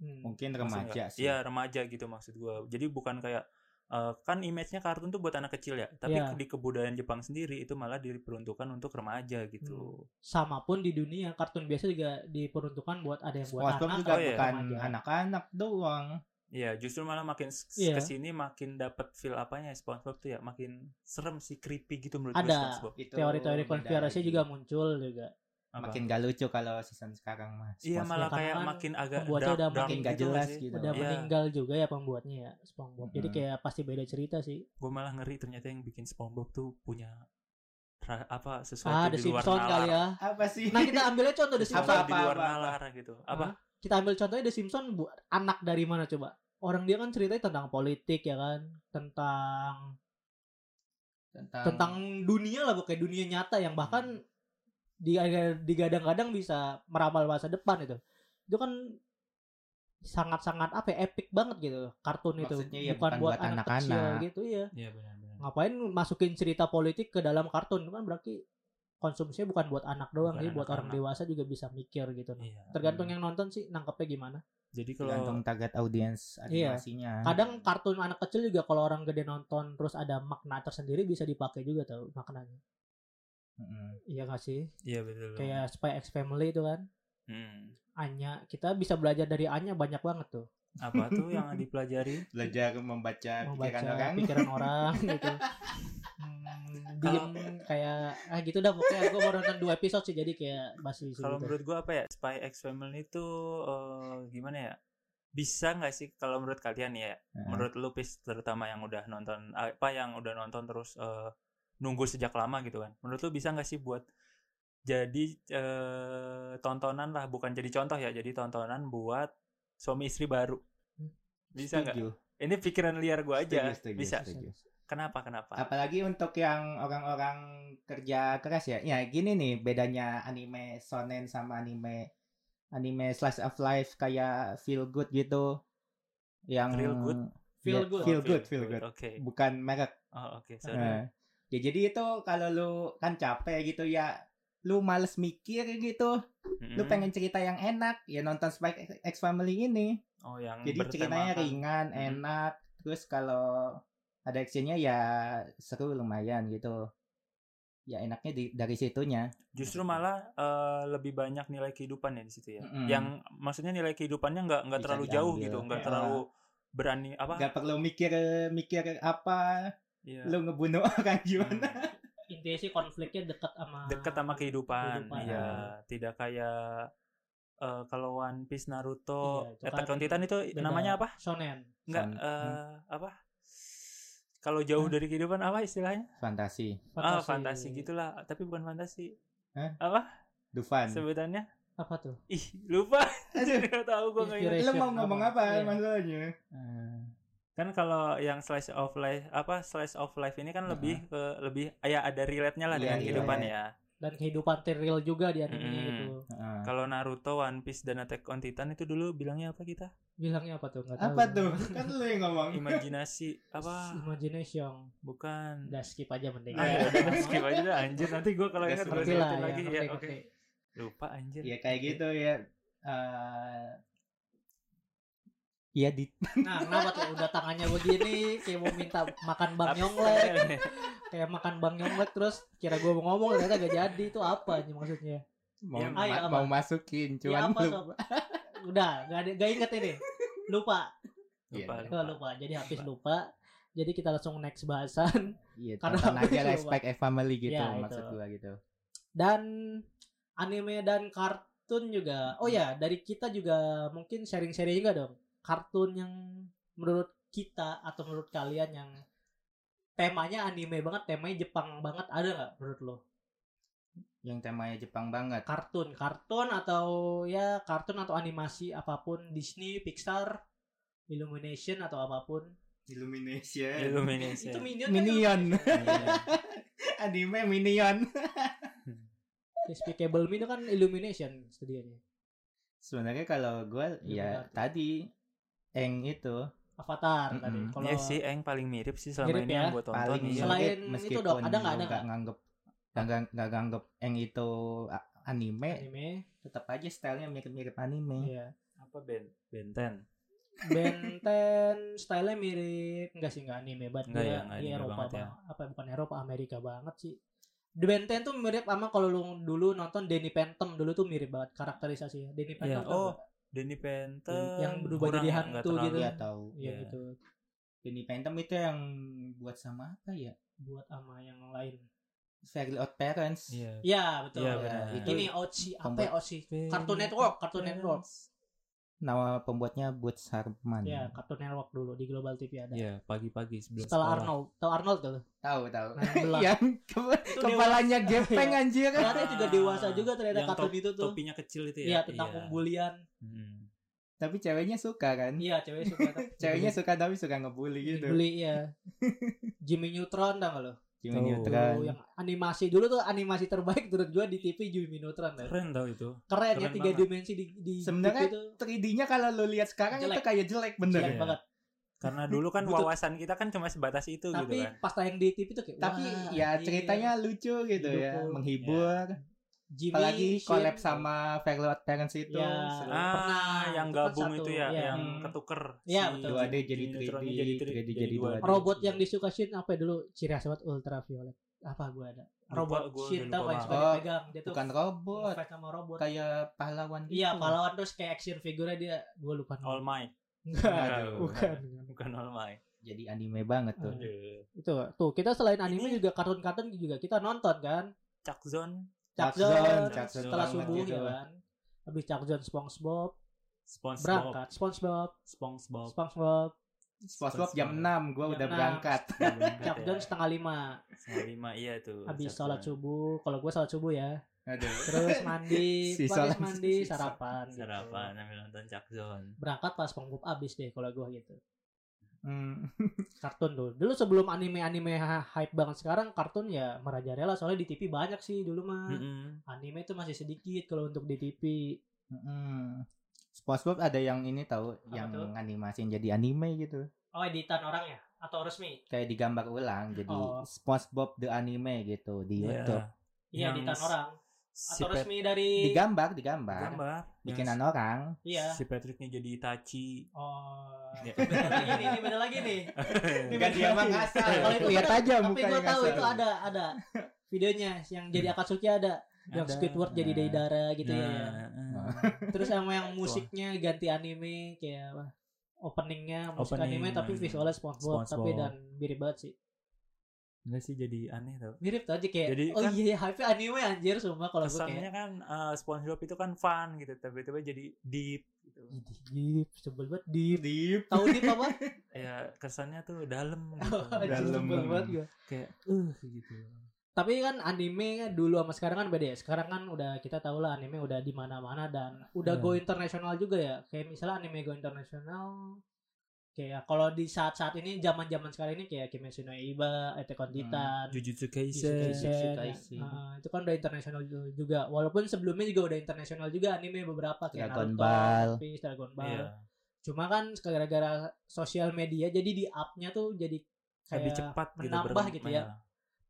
Speaker 4: Hmm.
Speaker 5: Mungkin
Speaker 3: Maksud
Speaker 5: remaja
Speaker 3: nggak?
Speaker 5: sih.
Speaker 3: Iya, remaja gitu maksud gua. Jadi bukan kayak eh, kan image-nya kartun tuh buat anak kecil ya, tapi
Speaker 4: Iya.
Speaker 3: di kebudayaan Jepang sendiri itu malah diperuntukkan untuk remaja gitu.
Speaker 4: Hmm. sama pun di dunia kartun biasa juga diperuntukkan buat ada yang buat
Speaker 5: SpongeBob
Speaker 4: anak
Speaker 5: juga
Speaker 3: oh, iya.
Speaker 5: bukan
Speaker 4: remaja.
Speaker 5: anak-anak doang.
Speaker 3: Iya, justru malah makin s-
Speaker 4: Iya.
Speaker 3: kesini makin dapat feel apanya ya, SpongeBob tuh ya, makin serem sih creepy gitu menurut
Speaker 4: Ada.
Speaker 3: gua SpongeBob.
Speaker 5: Itu
Speaker 4: teori-teori
Speaker 5: beda
Speaker 4: konspirasi
Speaker 5: lagi.
Speaker 4: juga muncul juga
Speaker 3: Apa?
Speaker 5: makin gak lucu kalau season sekarang mas.
Speaker 3: Iya
Speaker 5: Mas,
Speaker 3: malah
Speaker 4: karena
Speaker 3: kayak
Speaker 4: kan
Speaker 3: makin agak
Speaker 4: pembuatnya
Speaker 3: dark,
Speaker 4: udah
Speaker 3: dark
Speaker 5: makin gak
Speaker 3: gitu
Speaker 5: jelas
Speaker 3: sih.
Speaker 5: gitu.
Speaker 4: udah
Speaker 3: Iya.
Speaker 4: meninggal juga ya pembuatnya ya SpongeBob jadi
Speaker 5: Mm-mm.
Speaker 4: kayak pasti beda cerita sih
Speaker 3: Gue malah ngeri ternyata yang bikin SpongeBob tuh punya ra- apa sesuatu
Speaker 4: ah
Speaker 3: Nah, di
Speaker 4: The
Speaker 3: luar
Speaker 4: Simpsons
Speaker 3: nalar.
Speaker 4: kali ya
Speaker 5: Apa sih?
Speaker 4: nah kita ambilnya contoh The
Speaker 3: Sesuatu
Speaker 4: Simpsons
Speaker 5: Apa,
Speaker 3: di luar
Speaker 5: apa, apa.
Speaker 3: nalar gitu. Apa?
Speaker 4: Hah? kita ambil contohnya The Simpsons buat anak dari mana coba orang dia kan ceritanya tentang politik ya kan tentang
Speaker 5: tentang,
Speaker 4: tentang dunia lah pokoknya dunia nyata yang bahkan di digadang-gadang bisa meramal masa depan itu itu kan sangat-sangat apa ya, epic banget gitu kartun
Speaker 5: Maksudnya
Speaker 4: itu
Speaker 5: ya bukan buat
Speaker 4: kecil
Speaker 5: anak-anak.
Speaker 4: gitu ya
Speaker 3: Iya benar-benar.
Speaker 4: ngapain masukin cerita politik ke dalam kartun itu kan berarti konsumsinya bukan buat anak doang
Speaker 3: Bukan
Speaker 4: jadi buat orang
Speaker 3: anak-anak.
Speaker 4: dewasa juga bisa mikir gitu nah.
Speaker 3: Iya.
Speaker 4: tergantung yang nonton sih nangkepnya gimana
Speaker 3: Jadi
Speaker 5: tergantung
Speaker 3: kalau
Speaker 5: target audiens
Speaker 4: Iya.
Speaker 5: animasinya.
Speaker 4: kadang kartun anak kecil juga kalau orang gede nonton terus ada makna tersendiri bisa dipakai juga tau maknanya
Speaker 5: Mm-mm.
Speaker 4: iya gak sih
Speaker 3: iya betul.
Speaker 4: kayak Spy X Family itu kan
Speaker 3: Hmm.
Speaker 4: Anya kita bisa belajar dari Anya banyak banget tuh
Speaker 3: apa tuh yang dipelajari?
Speaker 5: Belajar membaca
Speaker 4: membaca
Speaker 5: pikiran orang. Hmm,
Speaker 4: pikiran orang gitu diem kayak ah gitu dah pokoknya gue baru nonton dua episode sih jadi kayak masih
Speaker 3: Kalau
Speaker 4: gitu.
Speaker 3: menurut gua apa ya? Spy X Family itu eh, gimana ya? Bisa nggak sih kalau menurut kalian ya?
Speaker 5: Heeh.
Speaker 3: Menurut lu Pis, terutama yang udah nonton apa yang udah nonton terus eh, nunggu sejak lama gitu kan. Menurut lu bisa nggak sih buat jadi eh, tontonan lah bukan jadi contoh ya, jadi tontonan buat suami istri baru. Bisa nggak?
Speaker 5: Hmm, Setuju,
Speaker 3: Ini pikiran liar gua aja.
Speaker 5: setuju, setuju,
Speaker 3: bisa.
Speaker 5: setuju. Ah,
Speaker 3: Kenapa? Kenapa?
Speaker 5: Apalagi untuk yang orang-orang kerja keras ya. Ya gini nih bedanya anime shonen sama anime anime slice of life kayak feel good gitu. Yang
Speaker 3: Real good?
Speaker 4: Feel
Speaker 5: Ya,
Speaker 4: good.
Speaker 5: Feel good, feel good.
Speaker 3: Oh, Oke.
Speaker 5: Bukan merek.
Speaker 3: Oh, oke. Sorry.
Speaker 5: Eh. Ya jadi itu kalau lu kan capek gitu ya lu males mikir gitu, lu
Speaker 3: Mm-mm.
Speaker 5: pengen cerita yang enak, ya nonton Spike X Family ini.
Speaker 3: Oh, yang
Speaker 5: Jadi
Speaker 3: bertemakan.
Speaker 5: ceritanya ringan,
Speaker 3: Mhm.
Speaker 5: enak. Terus kalau ada actionnya ya seru lumayan gitu. Ya enaknya di, dari situnya.
Speaker 3: Justru malah eh, lebih banyak nilai kehidupan ya di situ ya.
Speaker 5: Mm-mm.
Speaker 3: Yang maksudnya nilai kehidupannya nggak nggak
Speaker 5: Bisa
Speaker 3: terlalu jauh
Speaker 5: diambil.
Speaker 3: gitu, nggak
Speaker 5: Iya.
Speaker 3: terlalu berani apa?
Speaker 5: Gak perlu mikir mikir apa,
Speaker 3: Iya.
Speaker 5: lu ngebunuh orang gimana.
Speaker 3: Hmm.
Speaker 4: intinya sih konfliknya dekat sama
Speaker 3: Dekat sama kehidupan,
Speaker 4: Kehidupan.
Speaker 3: iya. Tidak kayak eh, kalau One Piece, Naruto,
Speaker 4: Iya, itu
Speaker 3: Attack
Speaker 4: kan
Speaker 3: on Titan itu
Speaker 4: beda.
Speaker 3: namanya apa?
Speaker 4: shonen
Speaker 3: Nggak
Speaker 5: Fan-
Speaker 3: eh, apa? Kalau jauh dari kehidupan apa istilahnya?
Speaker 5: Fantasi,
Speaker 3: Ah, fantasi gitulah, tapi bukan fantasi.
Speaker 5: Hah?
Speaker 3: Apa
Speaker 5: Dufan.
Speaker 3: sebutannya?
Speaker 4: apa tuh
Speaker 3: Ih, lupa.
Speaker 5: Aduh,
Speaker 3: Nggak tahu gua nggak ingat.
Speaker 5: lu mau ngomong apa Eh,
Speaker 4: Iya.
Speaker 5: maksudnya?
Speaker 3: kan kalau yang slice of life apa slice of life ini kan
Speaker 5: Heeh.
Speaker 3: lebih ke lebih ya ada relate nya
Speaker 5: Iya,
Speaker 3: lah dengan
Speaker 5: iya,
Speaker 3: kehidupan
Speaker 5: iya.
Speaker 3: ya
Speaker 4: dan kehidupan real juga di animenya
Speaker 3: Mm-mm.
Speaker 4: gitu
Speaker 5: Heeh.
Speaker 3: ya. kalau Naruto One Piece dan Attack on Titan itu dulu bilangnya apa kita
Speaker 4: bilangnya apa tuh Nggak tahu.
Speaker 5: apa tuh? Kan lu yang ngomong.
Speaker 3: imajinasi apa
Speaker 4: imagination
Speaker 3: bukan
Speaker 4: udah skip aja mending
Speaker 3: Ah, ya udah, skip aja dah, anjir nanti gue kalau
Speaker 5: Udah
Speaker 3: ingat gue
Speaker 4: ngerti
Speaker 5: skip
Speaker 4: lah
Speaker 3: sebutin
Speaker 4: ya,
Speaker 3: lagi ya
Speaker 4: ngerti,
Speaker 3: oke
Speaker 4: ngerti.
Speaker 3: lupa anjir
Speaker 5: Ya kayak gitu ya. Eh, ya di
Speaker 4: nah kenapa tuh udah tangannya begini kayak mau minta makan bang
Speaker 3: Apa-
Speaker 4: Yonglek kayak makan bang Yonglek terus kira gue mau ngomong ternyata gak jadi itu apa nih maksudnya
Speaker 5: mau,
Speaker 3: Ya,
Speaker 5: ma-
Speaker 4: ayo, apa?
Speaker 5: mau masukin
Speaker 4: ya
Speaker 5: cuman
Speaker 4: apa
Speaker 5: lu
Speaker 4: sob udah gak, ada- gak inget ini lupa
Speaker 5: Iya,
Speaker 3: Lupa,
Speaker 4: lupa, lupa. jadi habis lupa jadi kita langsung next bahasan
Speaker 5: Iya,
Speaker 4: Karena
Speaker 5: tonton
Speaker 4: aku
Speaker 5: aja
Speaker 4: juga.
Speaker 5: respect a family gitu
Speaker 4: Iya, itu.
Speaker 5: maksud gua gitu.
Speaker 4: dan anime dan kartun juga oh ya dari kita juga mungkin sharing-sharing juga dong kartun yang menurut kita atau menurut kalian yang temanya anime banget temanya Jepang banget ada nggak menurut lo
Speaker 5: Yang temanya Jepang banget.
Speaker 4: kartun kartun atau ya kartun atau animasi apapun Disney Pixar Illumination atau apapun
Speaker 5: Illumination.
Speaker 3: Illumination.
Speaker 4: itu minion kan
Speaker 5: Minion.
Speaker 3: Iya.
Speaker 5: Anime Minion.
Speaker 4: Despicable Me itu kan Illumination studionya
Speaker 5: Sebenarnya kalau gua ya
Speaker 4: Iya, Illuminati.
Speaker 5: tadi Eng itu
Speaker 4: Avatar
Speaker 5: Mm-mm.
Speaker 4: tadi kalau
Speaker 3: Iya sih, Eng paling mirip sih selama
Speaker 4: Mirip
Speaker 3: ini
Speaker 4: ya.
Speaker 3: yang gue tonton.
Speaker 5: paling
Speaker 3: Iya.
Speaker 4: Selain
Speaker 5: mirip,
Speaker 4: itu
Speaker 5: meskipun
Speaker 4: dong,
Speaker 5: lu
Speaker 4: ada nggak, ada
Speaker 5: nggak
Speaker 4: nggak?
Speaker 5: nganggep nggak ngang- nggak nganggep Eng itu a- anime
Speaker 4: anime
Speaker 5: tetap aja stylenya mirip-mirip anime
Speaker 4: ya
Speaker 3: Apa Ben? Benten.
Speaker 4: Benten stylenya mirip enggak sih enggak anime banget
Speaker 3: Nggak
Speaker 4: dia,
Speaker 3: ya, nggak
Speaker 4: dia
Speaker 3: anime
Speaker 4: Eropa
Speaker 3: banget ya.
Speaker 4: banget. apa bukan Eropa Amerika banget sih The Benten tuh mirip sama kalau lu dulu nonton Danny Phantom dulu tuh mirip banget karakterisasinya Danny Phantom
Speaker 3: Iya.
Speaker 4: tau
Speaker 3: Oh,
Speaker 4: nggak?
Speaker 3: Denny Benten.
Speaker 4: Yang berubah
Speaker 3: kurang
Speaker 4: jadi
Speaker 3: ya,
Speaker 4: hantu
Speaker 3: nggak terlalu.
Speaker 4: gitu.
Speaker 5: Iya tahu
Speaker 4: Iya
Speaker 3: Iya.
Speaker 4: gitu
Speaker 5: Danny Phantom itu yang buat sama apa ya
Speaker 4: buat sama yang lain
Speaker 5: Fairly Odd Parents
Speaker 3: Iya.
Speaker 4: Iya betul.
Speaker 3: Iya,
Speaker 5: Ya,
Speaker 3: benar.
Speaker 5: itu- Hmm.
Speaker 4: Ini Ochi apa ya
Speaker 5: Pembuat-
Speaker 4: Ochi? Cartoon Network, Cartoon Network.
Speaker 5: nama pembuatnya Boots Hartman
Speaker 4: Ya, Cartoon Network dulu di Global TV ada.
Speaker 3: Iya, pagi-pagi sebelum
Speaker 4: Setelah
Speaker 3: sekolah.
Speaker 4: Arnold, tahu Arnold gak lu?
Speaker 5: tahu tahu
Speaker 4: Nah, yang belah.
Speaker 5: yang ke-
Speaker 4: Itu
Speaker 5: Iya, kepalanya
Speaker 4: dewasa.
Speaker 5: gepeng
Speaker 4: Iya.
Speaker 5: anjir
Speaker 4: Ternyata juga dewasa juga ternyata
Speaker 3: Yang
Speaker 4: kartun
Speaker 3: top-
Speaker 4: itu tuh.
Speaker 3: Topinya kecil itu
Speaker 4: Iya,
Speaker 3: ya.
Speaker 4: tentang pembulian.
Speaker 3: Hmm.
Speaker 5: tapi ceweknya suka kan
Speaker 4: Iya, cewek suka.
Speaker 5: ceweknya suka tapi suka ngebully gitu
Speaker 4: Dibeli ya. Jimmy Neutron tau gak lo?
Speaker 5: Jimmy
Speaker 3: Tahu.
Speaker 5: Neutron
Speaker 4: Dulu yang animasi dulu tuh animasi terbaik menurut gua di TV Jimmy Neutron tau. Keren,
Speaker 3: Keren tau itu.
Speaker 4: ya
Speaker 3: Keren
Speaker 4: tiga
Speaker 3: banget.
Speaker 4: dimensi di di
Speaker 5: Sebenarnya
Speaker 4: itu
Speaker 5: 3D-nya kalau lo lihat sekarang
Speaker 4: Jelek.
Speaker 5: itu kayak jelek bener
Speaker 4: bener
Speaker 5: ya.
Speaker 3: Iya.
Speaker 4: banget.
Speaker 3: Karena dulu kan
Speaker 4: Butuh-
Speaker 3: wawasan kita kan cuma sebatas itu
Speaker 4: Tapi
Speaker 3: gitu kan.
Speaker 4: pas tayang di TV tuh kayak
Speaker 5: tapi
Speaker 4: wah,
Speaker 5: ya
Speaker 4: anjing.
Speaker 5: ceritanya lucu gitu ya
Speaker 4: Didukung. Iya.
Speaker 5: menghibur
Speaker 4: Jimmy
Speaker 5: apalagi
Speaker 4: Shin-
Speaker 5: collab sama Fairly Odd Parents itu
Speaker 4: Ya.
Speaker 5: seru.
Speaker 3: Ah,
Speaker 4: Pernah,
Speaker 3: yang
Speaker 4: itu kan
Speaker 3: gabung
Speaker 4: satu,
Speaker 3: itu ya,
Speaker 4: iya.
Speaker 3: yang
Speaker 5: Hmm.
Speaker 3: ketuker.
Speaker 4: Iya,
Speaker 3: Si
Speaker 4: betul.
Speaker 5: 2D jadi
Speaker 3: Jimmy Neutron
Speaker 5: 3D,
Speaker 3: ini jadi 3D,
Speaker 5: 3D
Speaker 3: jadi
Speaker 5: jadi
Speaker 3: 2D.
Speaker 4: robot yang disuka Shin apa ya dulu ciri asmat ultraviolet apa gue ada
Speaker 3: Lupa,
Speaker 4: robot
Speaker 3: gua
Speaker 4: Shin
Speaker 3: udah
Speaker 4: tau
Speaker 3: lupa
Speaker 4: kan suka
Speaker 5: banget. Oh,
Speaker 4: dipegang dia tuh
Speaker 5: bukan robot
Speaker 4: fight sama robot
Speaker 5: kayak gitu. pahlawan gitu.
Speaker 4: iya pahlawan terus kayak action figure dia gue lupa nama.
Speaker 3: All Might.
Speaker 4: Enggak,
Speaker 5: Aduh.
Speaker 4: bukan
Speaker 3: Bukan All Might.
Speaker 5: jadi anime banget tuh
Speaker 4: Hmm. itu tuh kita selain anime
Speaker 3: Ini-
Speaker 4: juga kartun-kartun juga kita nonton kan
Speaker 3: Chuck Zone,
Speaker 4: Chuck
Speaker 5: Chuck
Speaker 4: Zone
Speaker 5: Zone,
Speaker 3: Chuck Zone
Speaker 4: setelah
Speaker 3: banget
Speaker 4: subuh
Speaker 5: gitu.
Speaker 4: ya kan habis Chuck Zone SpongeBob
Speaker 3: SpongeBob,
Speaker 4: berangkat SpongeBob
Speaker 3: SpongeBob.
Speaker 4: SpongeBob
Speaker 5: SpongeBob jam 6 gue
Speaker 4: Jam
Speaker 5: udah
Speaker 4: 6.
Speaker 5: berangkat
Speaker 4: Chuck
Speaker 3: Chuck
Speaker 4: Zone setengah lima
Speaker 3: setengah ya. lima iya tuh.
Speaker 4: habis
Speaker 3: Chuck
Speaker 4: sholat
Speaker 3: Zone.
Speaker 4: subuh kalau gue sholat subuh ya
Speaker 5: Aduh.
Speaker 4: terus mandi
Speaker 5: Si
Speaker 4: habis
Speaker 5: sholat-
Speaker 4: mandi
Speaker 5: si sholat-
Speaker 4: sarapan gitu.
Speaker 3: Sarapan sambil nonton Chuck Zone.
Speaker 4: berangkat pas SpongeBob abis deh kalau gua gitu
Speaker 5: Hmm.
Speaker 4: kartun dulu dulu sebelum anime anime hype banget sekarang kartun ya merajalela soalnya di TV banyak sih dulu mah
Speaker 3: Mm-mm.
Speaker 4: anime itu masih sedikit kalau untuk di TV
Speaker 5: Mm-mm. SpongeBob ada yang ini tahu
Speaker 4: Apa
Speaker 5: yang
Speaker 4: tuh?
Speaker 5: animasiin jadi anime gitu.
Speaker 4: oh editan orang ya atau resmi
Speaker 5: Kayak digambar ulang jadi
Speaker 4: Oh.
Speaker 5: SpongeBob the anime gitu di
Speaker 3: Iya.
Speaker 5: YouTube.
Speaker 4: iya
Speaker 3: Yang
Speaker 4: editan orang
Speaker 3: Si
Speaker 4: atau
Speaker 3: Pat-
Speaker 4: resmi dari
Speaker 5: Digambar, digambar.
Speaker 3: gambar.
Speaker 5: Bikinan
Speaker 3: Yang
Speaker 5: orang.
Speaker 4: iya
Speaker 3: Si Patricknya jadi Itachi.
Speaker 4: oh
Speaker 3: Iya.
Speaker 4: beda lagi nih ini beda lagi nih Iya.
Speaker 5: Enggak dia emang ngasal.
Speaker 4: Kalau itu
Speaker 5: Iya. lihat
Speaker 4: kan-
Speaker 5: aja
Speaker 4: tapi
Speaker 5: mukanya
Speaker 4: gua tahu
Speaker 5: ngasal.
Speaker 4: itu ada ada videonya yang jadi Akatsuki ada yang
Speaker 3: Ada.
Speaker 4: Squidward jadi Deidara gitu ya
Speaker 3: Nah, eh.
Speaker 4: Terus sama yang musiknya ganti anime kayak apa? Openingnya musik
Speaker 3: Opening,
Speaker 4: anime tapi
Speaker 3: hmm.
Speaker 4: visualnya SpongeBob,
Speaker 3: SpongeBob.
Speaker 4: tapi dan mirip banget sih.
Speaker 3: Enggak sih jadi aneh tau.
Speaker 4: Mirip tuh aja kayak
Speaker 3: Jadi
Speaker 4: oh
Speaker 3: kan-
Speaker 4: iya hype anime anjir semua kalau gue
Speaker 3: Kesannya
Speaker 4: kayak
Speaker 3: kan eh, SpongeBob itu kan fun gitu, tapi tiba jadi deep gitu.
Speaker 4: "Ih, deep, sebel banget deep.
Speaker 5: Deep.
Speaker 4: Tahu deep apa?
Speaker 3: Ya kesannya tuh dalam gitu.
Speaker 4: Anjir,
Speaker 5: Dalam.
Speaker 4: sebel Oh, banget gua.
Speaker 3: kayak uh gitu.
Speaker 4: Tapi kan anime kan dulu sama sekarang kan beda ya. Sekarang kan udah kita tahu lah anime udah di mana-mana dan
Speaker 3: Iya.
Speaker 4: udah go internasional juga ya. Kayak misalnya anime go internasional kayak kalau di saat-saat ini zaman-zaman sekarang ini kayak Kimetsu no Yaiba, Attack on
Speaker 5: Hmm.
Speaker 4: Titan,
Speaker 5: Iya,
Speaker 3: Jujutsu
Speaker 4: Jujutsu
Speaker 3: Kaisen. Iya,
Speaker 5: Kaisen.
Speaker 4: Kaisen, ya. Iya, Ah, itu kan udah internasional ju- juga. Walaupun sebelumnya juga udah internasional juga anime beberapa kayak
Speaker 5: Dragon
Speaker 4: Naruto,
Speaker 5: Ball.
Speaker 4: One Piece, Dragon Ball.
Speaker 3: Iya.
Speaker 4: Cuma kan gara-gara sosial media jadi di up-nya tuh jadi kayak
Speaker 3: Lebih cepat gitu
Speaker 4: menambah
Speaker 3: berkembang.
Speaker 4: gitu ya.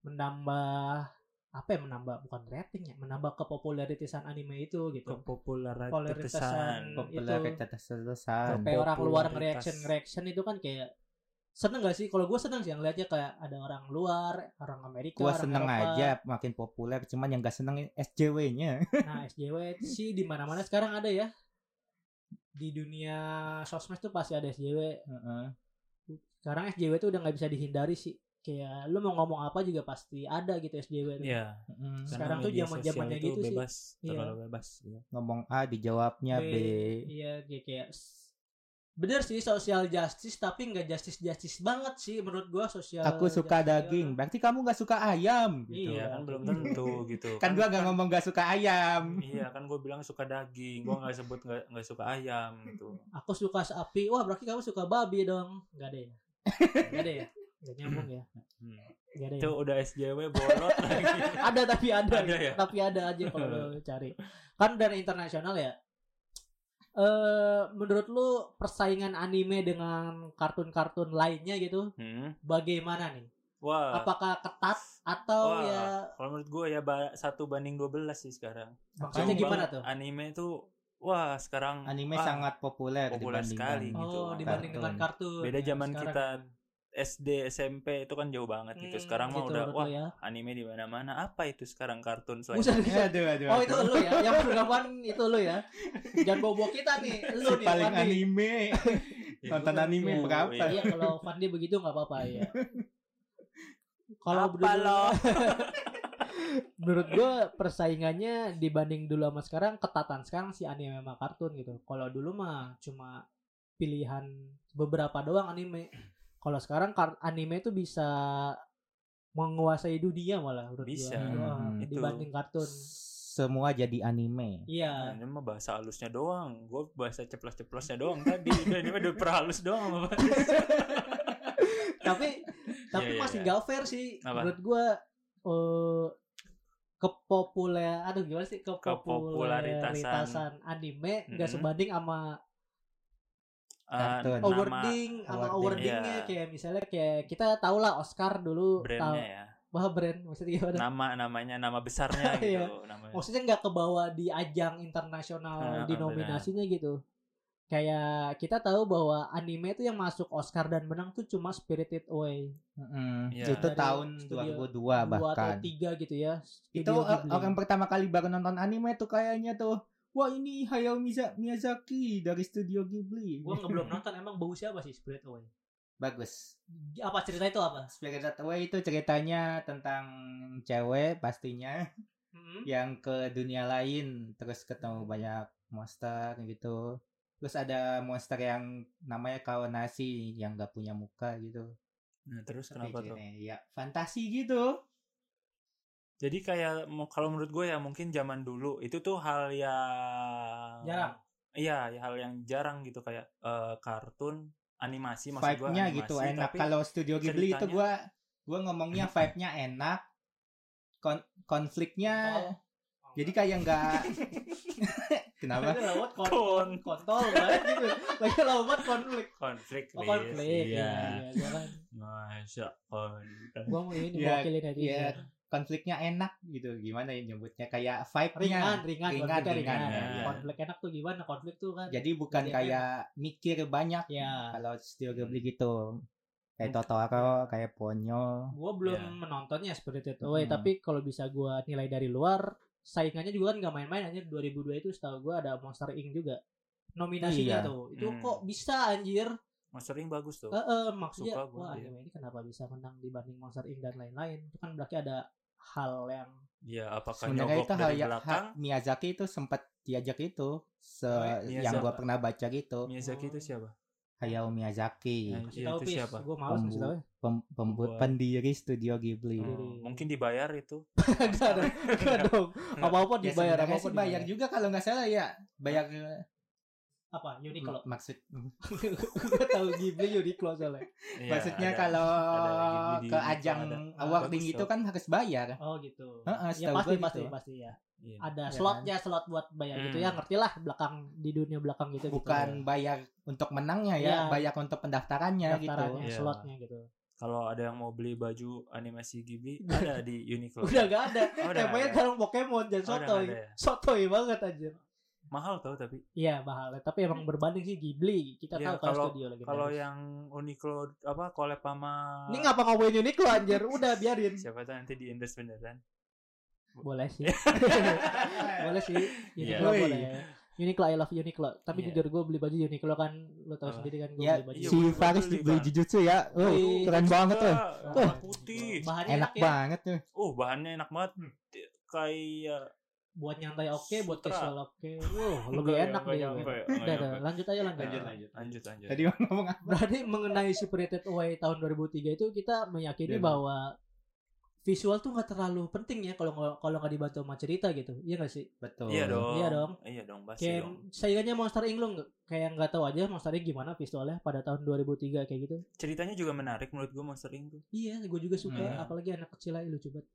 Speaker 4: menambah apa ya menambah bukan rating ya, menambah kepopularitisan anime itu gitu. Kepopularitasan.
Speaker 3: Kepopularitasan.
Speaker 5: Populer
Speaker 4: Itu-
Speaker 5: tetes tetesan.
Speaker 4: Sampai orang luar
Speaker 3: popularitas.
Speaker 4: reaction reaction itu kan kayak seneng gak sih? Kalau gue seneng sih yang liatnya kayak ada orang luar, orang Amerika,
Speaker 5: Gua
Speaker 4: orang
Speaker 5: seneng
Speaker 4: Eropa.
Speaker 5: aja makin populer, cuman yang gak seneng SJW-nya.
Speaker 4: Nah SJW sih di mana-mana sekarang ada ya. di dunia sosmed tuh pasti ada SJW.
Speaker 5: Heeh.
Speaker 4: Sekarang SJW tuh udah nggak bisa dihindari sih. Kayak lu mau ngomong apa juga pasti ada gitu SJW. tuh.
Speaker 3: Iya.
Speaker 5: Heeh.
Speaker 3: karena
Speaker 4: Sekarang tuh
Speaker 3: media sosial
Speaker 4: zaman-zamannya
Speaker 3: itu
Speaker 4: gitu sih.
Speaker 3: bebas,
Speaker 4: Iya.
Speaker 3: terlalu bebas.
Speaker 5: Ngomong A dijawabnya B.
Speaker 4: Iya kayak, kayak s- bener sih social justice tapi nggak justice justice banget sih menurut gua sosial.
Speaker 5: Aku suka
Speaker 4: justice-
Speaker 5: daging. Berarti kamu nggak suka ayam. Gitu.
Speaker 3: Iya,
Speaker 4: Iya.
Speaker 3: kan belum tentu gitu.
Speaker 5: Kan gua nggak ngomong nggak suka ayam.
Speaker 3: Iya, kan gue bilang suka daging, gue nggak sebut nggak nggak suka ayam gitu.
Speaker 4: Aku suka sapi. Wah berarti kamu suka babi dong. Gak ada ya. Gak ada ya. Gak nyambung ya.
Speaker 3: Hmm.
Speaker 4: Gak ada ya.
Speaker 3: Itu udah SJW bolot lagi.
Speaker 4: ada tapi ada,
Speaker 3: Ada ya?
Speaker 4: tapi ada aja kalau lo cari kan dari internasional ya eh menurut lu persaingan anime dengan kartun-kartun lainnya gitu
Speaker 3: Hmm.
Speaker 4: bagaimana nih
Speaker 3: Wah,
Speaker 4: apakah ketat atau
Speaker 3: Ah. Wah,
Speaker 4: ya
Speaker 3: kalau menurut gue ya ba- satu banding 12 sih sekarang. Jauh
Speaker 4: maksudnya gimana
Speaker 3: banget.
Speaker 4: tuh
Speaker 3: Anime itu wah sekarang
Speaker 5: Anime
Speaker 3: ah,
Speaker 5: sangat populer,
Speaker 3: populer sekali
Speaker 5: dibandingkan.
Speaker 3: gitu.
Speaker 4: oh
Speaker 3: kan.
Speaker 4: dibanding dengan kartun
Speaker 3: Beda
Speaker 4: ya,
Speaker 3: zaman
Speaker 4: sekarang.
Speaker 3: kita gitu. SD SMP itu kan jauh banget gitu.
Speaker 4: Hmm,
Speaker 3: Sekarang mah
Speaker 4: gitu
Speaker 3: udah
Speaker 4: menurut
Speaker 3: wah
Speaker 4: lu ya.
Speaker 3: anime di mana-mana. Apa itu sekarang kartun selain
Speaker 4: Buset, buset.
Speaker 5: Aduh, aduh,
Speaker 3: Iya,
Speaker 4: oh
Speaker 5: aduh.
Speaker 4: itu lu ya yang bergaman itu lu ya jangan bawa kita nih lu
Speaker 5: Si
Speaker 4: nih
Speaker 5: paling
Speaker 4: Fandi.
Speaker 5: anime.
Speaker 3: Ya,
Speaker 5: Nonton
Speaker 3: bukan.
Speaker 5: anime
Speaker 3: Oh,
Speaker 5: berapa?
Speaker 3: iya.
Speaker 4: Iya kalau Fandi begitu nggak apa-apa ya. Kalau
Speaker 3: Apa
Speaker 4: menurut-
Speaker 3: lo?
Speaker 4: menurut gue persaingannya dibanding dulu sama sekarang ketatan sekarang si anime sama kartun gitu. Kalau dulu mah cuma pilihan beberapa doang anime. Kalau sekarang kar- anime itu bisa menguasai dunia malah menurut
Speaker 3: Bisa.
Speaker 4: gua. Wah,
Speaker 5: Hmm,
Speaker 3: itu.
Speaker 4: dibanding kartun.
Speaker 5: Semua jadi anime.
Speaker 4: Iya.
Speaker 3: Nah, Ini mah bahasa halusnya doang. Gue bahasa ceplos-ceplosnya doang tadi. Ini mah udah perhalus doang. apa?
Speaker 4: tapi tapi
Speaker 3: Iya, iya,
Speaker 4: masih
Speaker 3: iya.
Speaker 4: nggak fair sih
Speaker 3: Apa?
Speaker 4: menurut gua eh kepopuler aduh gimana sih
Speaker 3: Kepopularitasan.
Speaker 4: kepopularitasan anime nggak
Speaker 3: Mm-mm.
Speaker 4: sebanding sama
Speaker 3: Ah,
Speaker 5: Kartun.
Speaker 3: nama
Speaker 4: awarding sama
Speaker 5: awarding.
Speaker 4: awardingnya
Speaker 3: Iya.
Speaker 4: kayak misalnya kayak kita tau lah Oscar dulu tahu
Speaker 3: brandnya Nah. ya.
Speaker 4: wah brand maksudnya gimana
Speaker 3: Nama namanya, nama besarnya
Speaker 4: Iya.
Speaker 3: gitu. Namanya.
Speaker 5: Oh,
Speaker 4: maksudnya nggak kebawa di ajang internasional
Speaker 3: Ah,
Speaker 4: di
Speaker 3: benar.
Speaker 4: nominasinya gitu kayak kita tahu bahwa anime itu yang masuk Oscar dan menang tuh cuma Spirited Away
Speaker 5: Mm-mm.
Speaker 3: Iya.
Speaker 5: Itu
Speaker 4: Dari
Speaker 5: tahun
Speaker 4: studio
Speaker 5: 2002
Speaker 4: dua atau
Speaker 5: bahkan.
Speaker 4: tiga gitu ya
Speaker 5: Itu eh,
Speaker 4: Studio
Speaker 5: o-
Speaker 4: Ghibli.
Speaker 5: orang pertama kali baru nonton anime tuh kayaknya tuh. Wah ini Hayao Miza- Miyazaki dari studio Ghibli.
Speaker 4: gue nggak belum nonton emang bau siapa sih Spirit Away
Speaker 5: Bagus.
Speaker 4: apa cerita itu apa
Speaker 5: Spirited Away itu ceritanya tentang cewek pastinya
Speaker 4: Hmm?
Speaker 5: yang ke dunia lain terus ketemu banyak monster gitu. Terus ada monster yang namanya Kaonasi yang gak punya muka gitu.
Speaker 3: Nah, terus
Speaker 5: Tapi
Speaker 3: kenapa tuh?
Speaker 5: ceritanya ya fantasi gitu.
Speaker 3: Jadi kayak mu- kalau menurut gue ya mungkin zaman dulu itu tuh hal yang
Speaker 4: Jarang.
Speaker 3: Iya, ya hal yang jarang gitu kayak eh, kartun, animasi maksud gue
Speaker 5: Vibe-nya
Speaker 3: animasi
Speaker 5: gitu enak.
Speaker 3: tapi
Speaker 5: Kalau Studio Ghibli itu
Speaker 3: ceritanya-
Speaker 5: gua gua ngomongnya vibe-nya enak. Kon- konfliknya jadi kayak nggak kenapa?
Speaker 4: Lagi lawat Kan kon
Speaker 3: Kon.
Speaker 4: kontol banget gitu. Lagi lawat konflik.
Speaker 3: konflik,
Speaker 4: Oh,
Speaker 3: Riz.
Speaker 4: konflik.
Speaker 3: Iya.
Speaker 4: Iya, jangan.
Speaker 3: Masa konflik.
Speaker 4: Gua mau ini gitu.
Speaker 5: Iya,
Speaker 4: mewakilin aja.
Speaker 5: Iya, konfliknya enak gitu. Gimana ya nyebutnya kayak vibe-nya.
Speaker 4: Ringan, ringan,
Speaker 5: Ringan,
Speaker 4: konfliknya
Speaker 5: ringan,
Speaker 4: ringan.
Speaker 3: ya.
Speaker 4: Konflik enak tuh gimana? Konflik tuh kan.
Speaker 5: Jadi bukan
Speaker 4: Jadi
Speaker 5: kayak mikir banyak
Speaker 4: Ya.
Speaker 5: kalau Studio Ghibli gitu. Kayak Totoro, kayak Ponyo.
Speaker 4: Gua belum
Speaker 3: Iya.
Speaker 4: menontonnya Spirited Away,
Speaker 5: Hmm.
Speaker 4: tapi kalau bisa gua nilai dari luar, saingannya juga kan gak main-main anjir 2002 itu setahu gua ada Monster Inc juga.
Speaker 5: Iya.
Speaker 4: Nominasinya tuh. Itu
Speaker 3: Hmm.
Speaker 4: kok bisa anjir?
Speaker 3: Monster Inc bagus tuh.
Speaker 4: Eh, eh, maksudnya
Speaker 3: Suka gua,
Speaker 4: wah
Speaker 3: iya.
Speaker 4: anime ini kenapa bisa menang dibanding Monster Inc dan lain-lain? Itu kan berarti ada hal yang
Speaker 3: Iya, apakah
Speaker 5: Sebenarnya
Speaker 3: nyogok
Speaker 5: itu hal
Speaker 3: dari
Speaker 5: yang
Speaker 3: belakang? Oh,
Speaker 5: ha- Miyazaki itu sempat diajak itu se
Speaker 3: iya, Miyazaki.
Speaker 5: yang gua pernah baca gitu.
Speaker 3: Miyazaki itu siapa?
Speaker 5: Hayao Miyazaki,
Speaker 3: Nah,
Speaker 4: kasih
Speaker 3: iya,
Speaker 4: tahu
Speaker 3: itu
Speaker 4: Pis.
Speaker 3: siapa?
Speaker 4: Gua malas kasih tahu. ya.
Speaker 5: pem- pembu-
Speaker 3: Pembuat.
Speaker 5: pendiri Studio Ghibli.
Speaker 3: Hmm,
Speaker 4: Diri.
Speaker 3: mungkin dibayar itu.
Speaker 4: Enggak ada. Enggak dong. Apa-apa
Speaker 5: Ya
Speaker 4: dibayar
Speaker 5: sebenarnya
Speaker 4: apa
Speaker 5: sih bayar juga kalau nggak salah ya. Bayar
Speaker 4: Apa? Uniqlo.
Speaker 5: mak- maksud
Speaker 4: Gua tahu Ghibli Uniqlo soalnya.
Speaker 3: Iya,
Speaker 5: maksudnya
Speaker 3: ada.
Speaker 5: kalau
Speaker 3: ada Ghibli di
Speaker 5: ke
Speaker 3: Uniqlo,
Speaker 5: ajang
Speaker 3: ada. Ah,
Speaker 5: awarding
Speaker 3: bagus
Speaker 5: itu
Speaker 3: tuh.
Speaker 5: kan harus bayar.
Speaker 4: Oh gitu.
Speaker 5: Heeh,
Speaker 4: ya
Speaker 5: setahu
Speaker 4: pasti
Speaker 5: gua
Speaker 4: pasti
Speaker 5: gitu.
Speaker 4: pasti ya.
Speaker 3: Iya.
Speaker 4: Ada
Speaker 5: Iya
Speaker 4: slotnya slot buat bayar
Speaker 3: Hmm.
Speaker 4: gitu ya. Ngerti lah belakang di dunia belakang gitu.
Speaker 5: bukan bayar untuk menangnya ya,
Speaker 4: Ya.
Speaker 5: bayar untuk pendaftarannya
Speaker 4: gitu. daftarannya,
Speaker 3: Iya.
Speaker 4: slotnya gitu.
Speaker 3: Kalau ada yang mau beli baju animasi Ghibli ada di Uniqlo.
Speaker 4: Udah gak ada.
Speaker 3: Oh, udah
Speaker 4: Temanya
Speaker 3: ada.
Speaker 4: sekarang Pokemon
Speaker 3: Oh,
Speaker 4: dan
Speaker 3: udah nggak
Speaker 4: sotoy.
Speaker 3: ada ya?
Speaker 4: Sotoy banget anjir.
Speaker 3: Mahal tau tapi.
Speaker 4: Iya, mahal. Tapi emang berbanding sih Ghibli. Kita
Speaker 3: Iya,
Speaker 4: tahu kalau
Speaker 3: kalau-
Speaker 4: studio lagi.
Speaker 3: Kalau
Speaker 4: bagus.
Speaker 3: yang Uniqlo apa collab sama
Speaker 4: ini ngapa ngomongin Uniqlo anjir? Udah biarin.
Speaker 3: siapa tahu nanti di endorse beneran.
Speaker 4: Boleh sih.
Speaker 5: gitu.
Speaker 4: boleh sih. Uniqlo
Speaker 5: Iya.
Speaker 4: boleh. Uniqlo I love Uniqlo tapi
Speaker 3: Iya.
Speaker 4: jujur gue beli baju Uniqlo kan lo tau
Speaker 3: Oh.
Speaker 4: sendiri kan gue
Speaker 5: Ya,
Speaker 4: beli baju
Speaker 3: iya,
Speaker 5: si
Speaker 3: gua- gua
Speaker 5: Faris
Speaker 3: beli,
Speaker 5: beli
Speaker 3: Bang.
Speaker 5: jujutsu ya. Oh,
Speaker 4: Beli
Speaker 5: keren banget tuh.
Speaker 4: Oh.
Speaker 3: warna putih
Speaker 4: bahannya
Speaker 5: Enak banget tuh.
Speaker 3: oh bahannya enak banget Ti- kayak
Speaker 4: buat nyantai oke buat
Speaker 3: Sutra.
Speaker 4: casual oke wow Oh, lebih enak
Speaker 3: deh
Speaker 4: nih udah udah, lanjut aja lanjut
Speaker 2: Lanjut, lanjut.
Speaker 3: lanjut lanjut
Speaker 5: Tadi mau ngomong "Ah, apa?
Speaker 4: berarti mengenai Separated Away tahun 2003 itu kita meyakini
Speaker 5: Dan-
Speaker 4: bahwa visual tuh nggak terlalu penting ya kalau nggak- kalau nggak dibantu sama cerita gitu iya nggak sih
Speaker 5: Betul.
Speaker 3: iya dong
Speaker 4: Iya dong.
Speaker 3: iya dong pasti
Speaker 4: kayak
Speaker 3: dong
Speaker 4: saingannya Monster Inc lo nggak kayak nggak tahu aja monsternya gimana visualnya pada tahun 2003 kayak gitu
Speaker 3: ceritanya juga menarik menurut gue Monster Inc tuh
Speaker 4: iya gue juga suka
Speaker 5: Iya.
Speaker 4: apalagi anak kecil aja lucu banget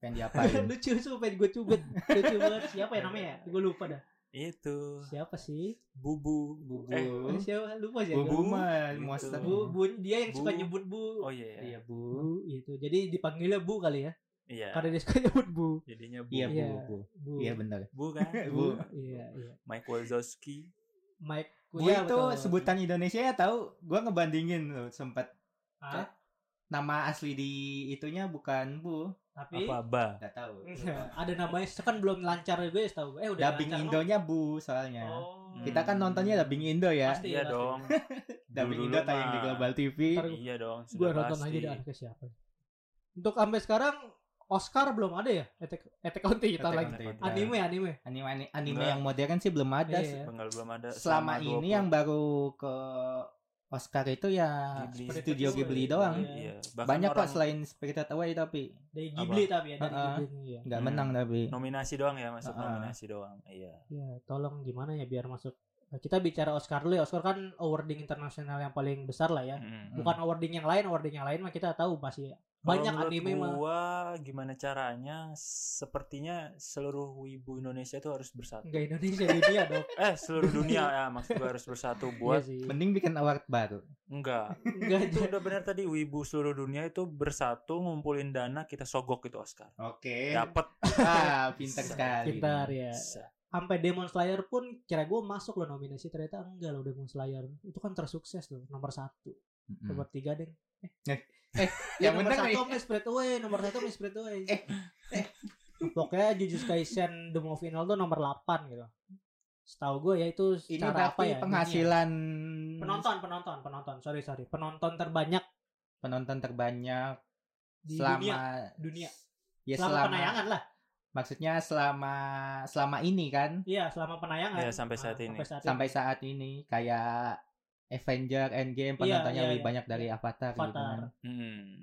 Speaker 5: Pengen diapain?
Speaker 4: lucu sumpah gue cubit lucu banget siapa ya namanya gue lupa dah
Speaker 3: itu
Speaker 4: siapa sih
Speaker 3: bubu
Speaker 5: Bubu. Iya
Speaker 3: Eh,
Speaker 4: siapa lupa sih
Speaker 5: Bubu
Speaker 3: Bu-
Speaker 5: mah
Speaker 3: gitu.
Speaker 5: monster.
Speaker 4: bu, bu dia yang
Speaker 3: Bu.
Speaker 4: suka nyebut bu
Speaker 3: oh iya
Speaker 5: Iya, Bu.
Speaker 4: bu itu jadi dipanggilnya bu kali ya
Speaker 3: iya
Speaker 4: karena dia suka nyebut bu
Speaker 3: jadinya bu
Speaker 5: Iya, Bu.
Speaker 4: Iya.
Speaker 5: Bu.
Speaker 4: bu
Speaker 5: Iya, benar.
Speaker 3: bu kan
Speaker 5: Bu.
Speaker 4: iya iya
Speaker 3: Mike Wazowski
Speaker 4: Mike
Speaker 5: Bu itu sebutan Indonesia ya tahu? Gua ngebandingin loh, sempat
Speaker 4: Ah,
Speaker 5: nama asli di itunya bukan Bu.
Speaker 4: tapi
Speaker 3: apa ba
Speaker 5: Gak tahu.
Speaker 4: ada namanya kan belum lancar gue tahu eh udah
Speaker 5: Dubbing
Speaker 4: lancar,
Speaker 5: Indonya Bu soalnya.
Speaker 4: Bang. oh.
Speaker 5: Kita kan nontonnya dubbing Indo ya.
Speaker 4: Pasti,
Speaker 3: iya
Speaker 4: pasti.
Speaker 3: dong
Speaker 5: Dubbing
Speaker 3: Dulu
Speaker 5: Indo tayang di
Speaker 3: mah.
Speaker 5: Global TV.
Speaker 4: Ntar
Speaker 3: iya dong
Speaker 4: gue
Speaker 3: sudah
Speaker 4: nonton
Speaker 3: pasti
Speaker 4: aja dah ke siapa untuk sampai sekarang Oscar belum ada ya Attack, Attack on Titan
Speaker 5: Attack
Speaker 4: lagi
Speaker 5: on Titan.
Speaker 4: anime anime
Speaker 5: Anime anime
Speaker 3: Enggak.
Speaker 5: yang modern sih belum ada.
Speaker 4: Iya.
Speaker 3: Bengal belum ada
Speaker 5: Selama ini yang baru ke Oscar itu ya
Speaker 3: Ghibli.
Speaker 5: Studio Ghibli doang.
Speaker 4: Iya.
Speaker 5: Banyak kok selain Spirited Away tapi
Speaker 4: dari Ghibli tapi ya
Speaker 5: Ah,
Speaker 4: dari
Speaker 5: ah.
Speaker 4: Ghibli ya.
Speaker 5: nggak
Speaker 3: Hmm.
Speaker 5: menang tapi.
Speaker 3: nominasi doang ya masuk
Speaker 5: Ah.
Speaker 3: nominasi doang iya
Speaker 4: ya tolong gimana ya biar masuk Nah, kita bicara Oscar dulu ya Oscar kan awarding internasional yang paling besar lah ya
Speaker 3: Mm.
Speaker 4: bukan awarding yang lain awarding yang lain mah kita tahu pasti
Speaker 3: Kalau
Speaker 4: banyak
Speaker 3: menurut
Speaker 4: anime mah
Speaker 3: gua gimana caranya sepertinya seluruh wibu Indonesia itu harus bersatu
Speaker 4: nggak Indonesia dunia dong
Speaker 3: eh seluruh dunia ya maksud gua harus bersatu buat
Speaker 4: Iya sih
Speaker 5: Mending bikin award baru.
Speaker 3: enggak
Speaker 4: nggak
Speaker 3: itu udah benar tadi wibu seluruh dunia itu bersatu ngumpulin dana kita sogok itu Oscar
Speaker 5: Oke.
Speaker 3: dapat
Speaker 5: Ah, pintar sekali.
Speaker 4: pintar ya sampai Demon Slayer pun kira gue masuk loh nominasi ternyata enggak loh Demon Slayer itu kan tersukses loh nomor satu
Speaker 5: Mm-mm.
Speaker 3: Hmm.
Speaker 4: nomor tiga deh
Speaker 5: Eh,
Speaker 4: Ya,
Speaker 5: yang
Speaker 4: nomor
Speaker 5: benar
Speaker 4: satu
Speaker 5: nih.
Speaker 4: sama Spread Away nomor satu sama Spread Away
Speaker 5: Eh, eh.
Speaker 4: pokoknya Jujutsu Kaisen The Movie Final tuh nomor 8 gitu setahu gue ya itu
Speaker 5: Ini
Speaker 4: secara apa
Speaker 5: berarti
Speaker 4: ya
Speaker 5: penghasilan
Speaker 4: dunia. penonton penonton penonton sorry sorry penonton terbanyak
Speaker 5: penonton terbanyak
Speaker 4: di dunia
Speaker 5: selama
Speaker 4: dunia.
Speaker 5: Ya
Speaker 4: selama,
Speaker 5: selama,
Speaker 4: penayangan lah
Speaker 5: maksudnya selama selama ini kan
Speaker 4: iya selama penayangan
Speaker 3: Iya, sampai
Speaker 4: Ah,
Speaker 3: saat ini.
Speaker 4: sampai saat
Speaker 5: sampai saat ini kayak Avenger Endgame penontonnya
Speaker 4: iya,
Speaker 5: lebih
Speaker 4: iya.
Speaker 5: banyak dari Avatar, gitu
Speaker 4: Avatar.
Speaker 5: kan.
Speaker 3: Hmm.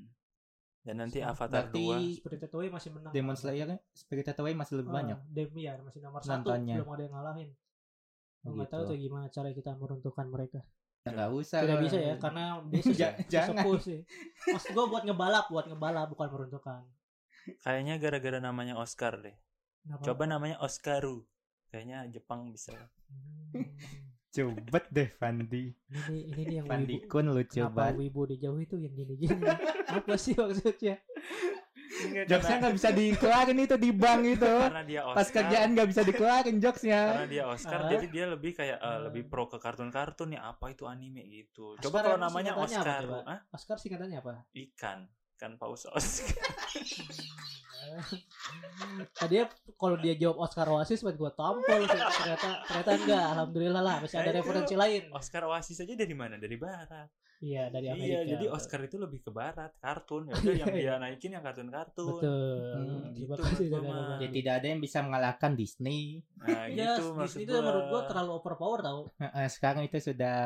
Speaker 3: dan nanti
Speaker 4: Berarti-
Speaker 3: Avatar
Speaker 5: Berarti
Speaker 3: 2
Speaker 4: Spread Away masih menang Eh,
Speaker 5: Demon Slayer Spirited Away masih lebih banyak.
Speaker 4: Demi ya masih nomor
Speaker 5: Nontonnya.
Speaker 4: satu belum ada yang ngalahin
Speaker 5: Oh,
Speaker 4: nggak tahu
Speaker 5: gitu.
Speaker 4: tuh gimana cara kita meruntuhkan mereka
Speaker 5: Enggak usah.
Speaker 4: tidak bisa ya karena dia
Speaker 5: Ja-
Speaker 4: sesepuh-
Speaker 5: jangan.
Speaker 4: sesepuh sih maksud gue buat ngebalap buat ngebalap bukan meruntuhkan
Speaker 3: kayaknya gara-gara namanya Oscar deh
Speaker 4: Kenapa?
Speaker 3: coba namanya Oscaru kayaknya Jepang bisa
Speaker 4: Hmm,
Speaker 5: Cubet deh Fandi.
Speaker 4: ini ini nih yang
Speaker 5: Fandi
Speaker 4: wibu
Speaker 5: Kun lu
Speaker 4: kenapa
Speaker 5: coba.
Speaker 4: wibu dijauhi tuh yang gini gini apa sih maksudnya
Speaker 5: Jokesnya nggak bisa dikeluarin itu di bank itu.
Speaker 3: karena dia Oscar
Speaker 5: Pas kerjaan nggak bisa dikeluarin jokesnya.
Speaker 3: karena dia Oscar
Speaker 4: Ah.
Speaker 3: jadi dia lebih kayak eh,
Speaker 4: Ah. lebih
Speaker 3: lebih pro ke kartun-kartun ya apa itu anime gitu
Speaker 4: Oscar
Speaker 3: coba kalau
Speaker 4: emang
Speaker 3: namanya
Speaker 4: singkatannya apa
Speaker 3: Oscar
Speaker 4: coba?
Speaker 3: Hah?
Speaker 4: Oscar singkatannya apa
Speaker 3: ikan ikan paus Oscar
Speaker 4: tadi kalau Nah, dia jawab Oscar Oasis buat gue tampol sih. ternyata ternyata enggak alhamdulillah lah masih ada
Speaker 3: Nah, itu
Speaker 4: referensi lain
Speaker 3: Oscar Oasis aja dari mana dari barat
Speaker 4: iya dari Amerika
Speaker 3: iya jadi Oscar itu lebih ke barat kartun ya udah yang dia naikin yang kartun-kartun
Speaker 4: betul
Speaker 5: Hmm,
Speaker 4: terima
Speaker 3: gitu
Speaker 4: kasih
Speaker 3: menurut gua
Speaker 4: saudara.
Speaker 3: mah.
Speaker 5: Ya tidak ada yang bisa mengalahkan Disney.
Speaker 3: nah
Speaker 4: Ya,
Speaker 3: gitu maksud
Speaker 4: Disney itu
Speaker 3: gua.
Speaker 4: menurut gue terlalu overpower tau.
Speaker 5: Heeh, Sekarang itu sudah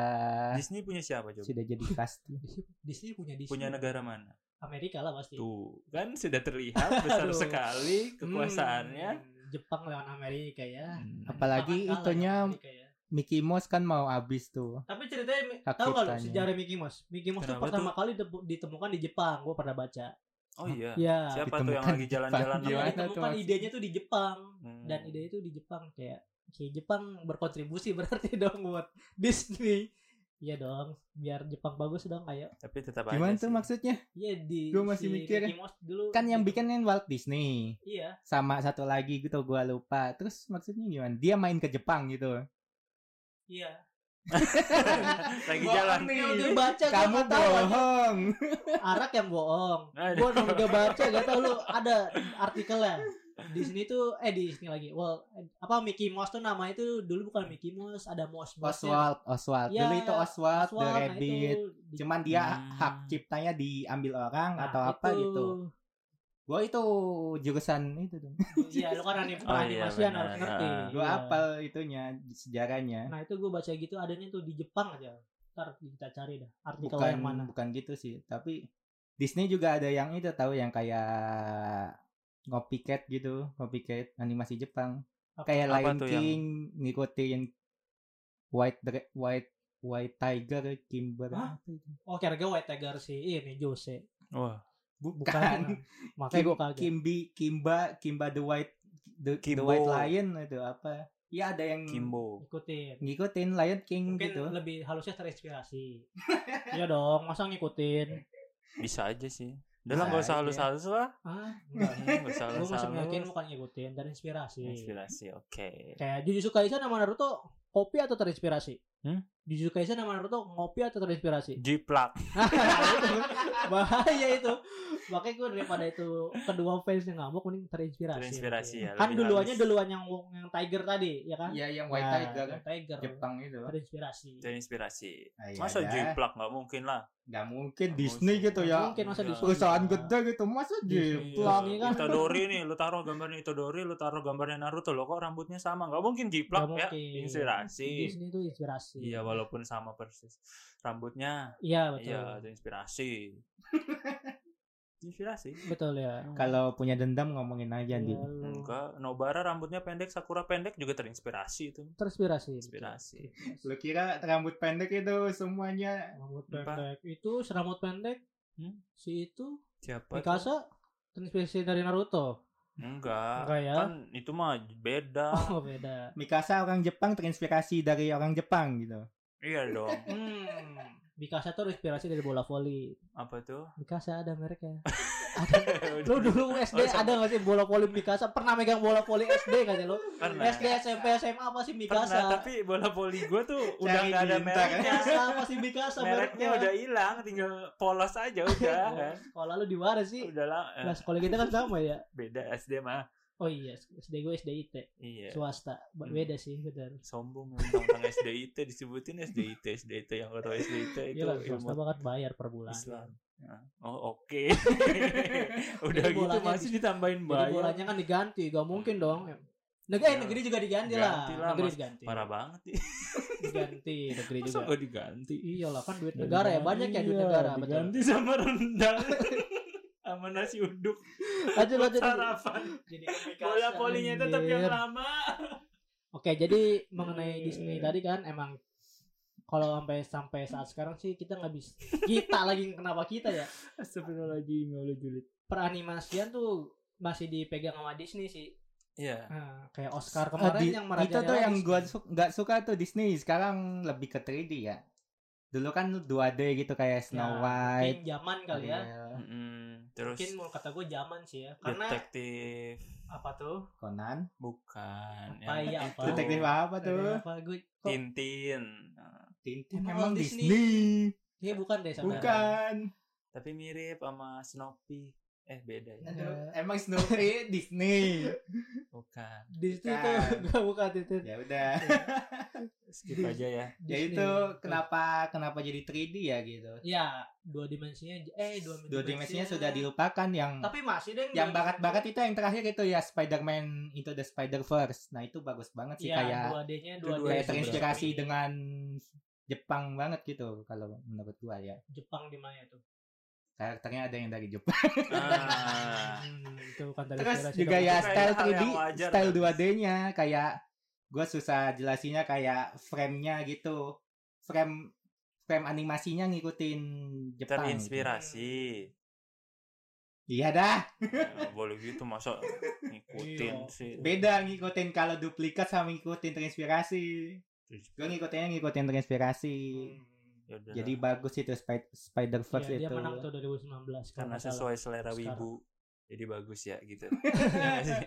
Speaker 3: Disney punya siapa coba
Speaker 5: sudah jadi pasti.
Speaker 4: Iya. Disney punya Disney.
Speaker 3: punya negara mana
Speaker 4: Amerika lah pasti.
Speaker 3: tuh kan sudah terlihat besar
Speaker 4: Iya. Aduh.
Speaker 3: sekali kekuasaannya
Speaker 4: Hmm, Jepang lawan Amerika ya.
Speaker 5: Hmm. Apalagi
Speaker 4: Jepang kalah
Speaker 5: itunya
Speaker 4: lawan Amerika ya.
Speaker 5: Mickey Mouse kan mau habis tuh.
Speaker 4: Tapi ceritanya mi-
Speaker 5: Hak
Speaker 4: tahu nggak lu
Speaker 5: ciptanya.
Speaker 4: sejarah Mickey Mouse? Mickey Mouse tuh
Speaker 3: Kenapa
Speaker 4: pertama kali ditebu- ditemukan di Jepang. Gue pernah baca.
Speaker 3: oh iya
Speaker 4: Iya.
Speaker 3: siapa tuh yang
Speaker 5: Ditemukan
Speaker 3: lagi
Speaker 5: di
Speaker 3: jalan-jalan
Speaker 4: Iya,
Speaker 5: Gimana
Speaker 3: namanya?
Speaker 5: tuh
Speaker 4: ditemukan
Speaker 5: maksudnya?
Speaker 4: idenya tuh di Jepang
Speaker 3: Hmm.
Speaker 4: dan idenya tuh di Jepang kayak kayak Jepang berkontribusi berarti dong buat Disney. Iya dong, biar Jepang bagus dong ayo.
Speaker 3: tapi tetap aja
Speaker 5: Gimana tuh
Speaker 3: sih.
Speaker 5: maksudnya?
Speaker 4: Iya di
Speaker 5: Gua masih
Speaker 4: si
Speaker 5: mikir.
Speaker 4: Mickey Mouse dulu
Speaker 5: Kan yang
Speaker 4: gitu.
Speaker 5: bikin kan Walt Disney.
Speaker 4: Iya.
Speaker 5: Sama satu lagi gitu gua lupa. Terus maksudnya gimana? Dia main ke Jepang gitu.
Speaker 4: Iya.
Speaker 3: lagi
Speaker 5: Bohong
Speaker 3: jalan
Speaker 5: nih.
Speaker 4: Ya udah baca gua
Speaker 5: Kamu
Speaker 4: nggak tahu aja.
Speaker 5: bohong.
Speaker 4: Arak yang bohong.
Speaker 3: Aduh.
Speaker 4: Gua udah baca gak tau lu ada artikelnya. di sini tuh eh di sini lagi well apa Mickey Mouse tuh namanya itu dulu bukan Mickey Mouse ada Mouse Mouse
Speaker 5: Oswald, Oswald.
Speaker 4: Ya,
Speaker 5: Dulu itu Oswald, The
Speaker 4: nah
Speaker 5: Rabbit.
Speaker 4: itu di-
Speaker 5: Cuman dia
Speaker 3: Hmm.
Speaker 5: hak ciptanya diambil orang
Speaker 4: nah,
Speaker 5: atau apa
Speaker 4: itu.
Speaker 5: gitu. Gue itu jurusan itu tuh.
Speaker 4: Iya, lu kan anim
Speaker 3: Oh, iya,
Speaker 4: animasian harus
Speaker 3: benar.
Speaker 4: ngerti.
Speaker 3: Ah.
Speaker 5: Gue
Speaker 4: Iya.
Speaker 5: apal itunya sejarahnya.
Speaker 4: Nah, itu gue baca gitu adanya tuh di Jepang aja. Ntar kita cari dah artikel
Speaker 5: Bukan
Speaker 4: yang mana.
Speaker 5: bukan gitu sih, tapi Disney juga ada yang itu tahu yang kayak copycat gitu, copycat animasi Jepang.
Speaker 4: Apa-
Speaker 5: Kayak
Speaker 3: apa
Speaker 5: Lion
Speaker 3: tuh yang-
Speaker 5: King ngikutin White Dra- White White Tiger Kimber.
Speaker 4: Hah? Oh, kira-kira White Tiger sih. Ini Jose.
Speaker 3: Wah,
Speaker 5: Bukan.
Speaker 4: Makanya gue
Speaker 5: Kimbo,
Speaker 4: kaget.
Speaker 5: Kimbi, Kimba, Kimba the White, the, the
Speaker 3: Kimbo.
Speaker 5: White Lion itu apa? Ya ada yang
Speaker 3: Kimbo.
Speaker 4: Ikutin.
Speaker 5: ngikutin Lion King
Speaker 4: Mungkin
Speaker 5: gitu.
Speaker 4: lebih halusnya terinspirasi. Iya dong, masa ngikutin?
Speaker 3: Bisa aja sih. Udah
Speaker 5: Bisa
Speaker 3: lah nggak usah
Speaker 5: aja.
Speaker 3: halus-halus lah.
Speaker 4: Ah,
Speaker 3: Nggak usah
Speaker 4: gue masih meyakin
Speaker 3: halus-halus.
Speaker 4: bukan ngikutin, terinspirasi.
Speaker 3: Inspirasi, oke.
Speaker 4: Kayak Jujutsu Kaisen sama Naruto kopi atau terinspirasi?
Speaker 3: Hmm?
Speaker 4: Jujutsu Kaisen sama Naruto ngopi atau terinspirasi?
Speaker 3: Jiplak.
Speaker 4: bahaya itu makanya gue daripada itu kedua fans yang ngamuk mending terinspirasi
Speaker 3: Terinspirasi ya,
Speaker 4: kan
Speaker 3: lebih
Speaker 4: duluannya
Speaker 3: halus.
Speaker 4: duluan yang yang tiger tadi ya kan
Speaker 5: Iya yang
Speaker 4: Nah, White Tiger.
Speaker 5: Jepang itu.
Speaker 4: terinspirasi
Speaker 3: Itu inspirasi.
Speaker 5: Nah, iya
Speaker 3: Masa
Speaker 5: dah.
Speaker 3: jiplak nggak mungkin lah.
Speaker 5: Nggak mungkin
Speaker 3: Nggak
Speaker 5: Disney
Speaker 3: mungkin.
Speaker 5: gitu
Speaker 4: Nggak
Speaker 5: ya.
Speaker 4: mungkin masa
Speaker 3: Iya.
Speaker 4: di
Speaker 5: Perusahaan gede gitu masa
Speaker 4: Disney.
Speaker 5: jiplak.
Speaker 4: Disney kan.
Speaker 3: Itadori nih, lu taruh gambarnya Itadori, lu taruh gambarnya Naruto, lo kok rambutnya sama? Nggak mungkin jiplak
Speaker 4: Nggak
Speaker 3: ya.
Speaker 4: mungkin.
Speaker 3: Inspirasi.
Speaker 4: Disney itu inspirasi
Speaker 3: Iya, walaupun sama persis rambutnya.
Speaker 4: iya betul
Speaker 3: Iya, itu inspirasi. inspirasi.
Speaker 4: betul ya
Speaker 5: Kalau punya dendam ngomongin aja
Speaker 4: Iya,
Speaker 5: di
Speaker 4: lu
Speaker 3: Enggak, Nobara rambutnya pendek, Sakura pendek juga terinspirasi itu.
Speaker 4: terinspirasi
Speaker 3: Inspirasi.
Speaker 5: Lu kira rambut pendek itu semuanya
Speaker 4: rambut
Speaker 3: Apa?
Speaker 4: pendek itu serambut pendek
Speaker 3: Hmm?
Speaker 4: si itu
Speaker 3: Siapa? tuh?
Speaker 4: Mikasa terinspirasi dari Naruto
Speaker 3: Enggak.
Speaker 4: enggak ya
Speaker 3: Kan itu mah beda.
Speaker 4: oh beda
Speaker 5: Mikasa orang Jepang terinspirasi dari orang Jepang gitu.
Speaker 3: iya dong.
Speaker 4: hmm Mikasa tuh terinspirasi dari bola volley
Speaker 3: Apa tuh?
Speaker 4: Mikasa ada mereknya. Lu
Speaker 3: Oh,
Speaker 4: dulu SD ada gak sih bola voli Mikasa? Pernah megang bola voli SD gak sih lu?
Speaker 3: Pernah.
Speaker 4: SD, SMP, SMA apa sih
Speaker 3: Pernah,
Speaker 4: Mikasa?
Speaker 3: tapi bola voli gue tuh udah
Speaker 5: Cari
Speaker 3: nggak ada
Speaker 5: bintang.
Speaker 3: mereknya.
Speaker 4: Mikasa apa sih Mikasa
Speaker 3: Mereknya udah hilang, tinggal polos aja udah. kan.
Speaker 4: Sekolah lu di mana sih?
Speaker 3: udah lah, eh,
Speaker 4: Iya. Nah, sekolah kita kan sama ya.
Speaker 3: beda SD mah.
Speaker 4: Oh iya, SD gue SDIT,
Speaker 3: Iya.
Speaker 4: swasta. Ba- Beda sih, benar.
Speaker 3: Sombong memang tentang SDIT disebutin SDIT SDIT yang gak tau SDIT itu
Speaker 4: Iya lah, swasta
Speaker 3: ilmu
Speaker 4: banget bayar per bulan.
Speaker 3: Islam. Nah, Oh oke. udah
Speaker 4: Jadi
Speaker 3: gitu
Speaker 4: bolanya
Speaker 3: masih ditambahin
Speaker 4: Jadi
Speaker 3: bayar.
Speaker 4: bolanya kan diganti, gak mungkin dong. Negeri, eh,
Speaker 3: Ya.
Speaker 4: negeri juga diganti lah.
Speaker 3: Ganti lah,
Speaker 4: Negeri
Speaker 3: Mas.
Speaker 4: diganti.
Speaker 3: Parah banget.
Speaker 4: Diganti, negeri
Speaker 3: Masa
Speaker 4: juga.
Speaker 3: gak diganti?
Speaker 4: Iyalah kan duit negara ya, banyak ya duit
Speaker 3: Iya,
Speaker 4: negara. Betul.
Speaker 3: Diganti sama rendang. sama nasi uduk.
Speaker 4: lanjut lanjut
Speaker 3: Sarapan.
Speaker 4: jadi
Speaker 3: Bola polinya tetap yang lama. Eh.
Speaker 4: oke jadi mengenai Disney tadi kan emang kalau sampai sampai saat sekarang sih kita nggak bisa kita lagi kenapa kita ya
Speaker 3: Astagfirullahaladzim, ya Allah julid.
Speaker 4: peranimasian tuh masih dipegang sama Disney sih
Speaker 3: Iya.
Speaker 4: Nah, kayak Oscar
Speaker 5: Ah,
Speaker 4: kemarin
Speaker 5: di-
Speaker 4: yang merajai
Speaker 5: itu tuh yang gua su- nggak suka tuh Disney sekarang lebih ke 3D ya. Dulu kan 2D gitu kayak Snow White.
Speaker 4: Ya, mungkin zaman kali
Speaker 3: Iya.
Speaker 4: ya
Speaker 5: Ariel,
Speaker 3: Mm-mm. Terus
Speaker 4: mungkin mau kata gue zaman sih ya karena
Speaker 3: detektif
Speaker 4: apa tuh
Speaker 5: Conan.
Speaker 3: bukan
Speaker 4: Apa ya,
Speaker 3: yang
Speaker 4: apa?
Speaker 3: itu.
Speaker 5: Detektif apa
Speaker 4: Ada
Speaker 5: tuh?
Speaker 4: apa gue kok
Speaker 3: Tintin. Nah,
Speaker 5: Tintin
Speaker 4: Emang
Speaker 5: emang
Speaker 4: Disney?
Speaker 5: Disney.
Speaker 4: ya bukan deh saudara
Speaker 5: Bukan.
Speaker 3: Tapi mirip sama Snoopy. Eh beda ya.
Speaker 5: Aduh, Emang Snoopy Disney.
Speaker 3: Bukan.
Speaker 4: Disney tuh
Speaker 5: Bukan.
Speaker 4: gak bukan Iya. itu
Speaker 5: Ya udah.
Speaker 3: Skip aja
Speaker 5: Ya
Speaker 3: ya.
Speaker 4: Disney.
Speaker 5: itu kenapa kenapa jadi 3D ya gitu.
Speaker 4: Ya, dua dimensinya eh dua dimensinya,
Speaker 5: Dua dimensinya sudah dilupakan yang
Speaker 4: Tapi masih deh
Speaker 5: yang bakat-bakat itu yang terakhir itu ya Spider-Man Into the Spider-Verse. Nah, itu bagus banget sih
Speaker 4: ya,
Speaker 5: kayak
Speaker 4: 2D-nya
Speaker 5: kayak
Speaker 3: Iya, dua
Speaker 4: dua D
Speaker 3: sebenarnya.
Speaker 5: terinspirasi dengan Jepang banget gitu kalau menurut gua ya.
Speaker 4: Jepang di mana itu?
Speaker 5: Karakternya ada yang dari Jepang. Nah.
Speaker 3: Ah.
Speaker 4: Hmm, itu bukan
Speaker 5: Terus
Speaker 4: terinspirasi
Speaker 5: juga
Speaker 4: dong.
Speaker 5: ya
Speaker 3: Itu
Speaker 5: style
Speaker 3: kayaknya hal
Speaker 5: 3D,
Speaker 3: yang wajar
Speaker 5: style
Speaker 3: kan?
Speaker 5: 2D-nya kayak gua susah jelasinnya kayak frame-nya gitu. Frame frame animasinya ngikutin Jepang. gitu.
Speaker 3: Terinspirasi.
Speaker 5: Iya dah,
Speaker 3: Ya, boleh gitu masa ngikutin
Speaker 4: Iya.
Speaker 3: sih.
Speaker 5: beda ngikutin kalau duplikat sama ngikutin terinspirasi. Gua ngikutinnya ngikutin terinspirasi.
Speaker 3: Yaudah.
Speaker 5: Kan Jadi bagus itu Spider
Speaker 4: Iya,
Speaker 5: Verse
Speaker 4: dia
Speaker 5: itu.
Speaker 4: menang tuh 2019
Speaker 3: karena
Speaker 4: nggak salah.
Speaker 3: sesuai selera
Speaker 4: sekarang.
Speaker 3: wibu. Jadi bagus ya gitu. Iya nggak sih?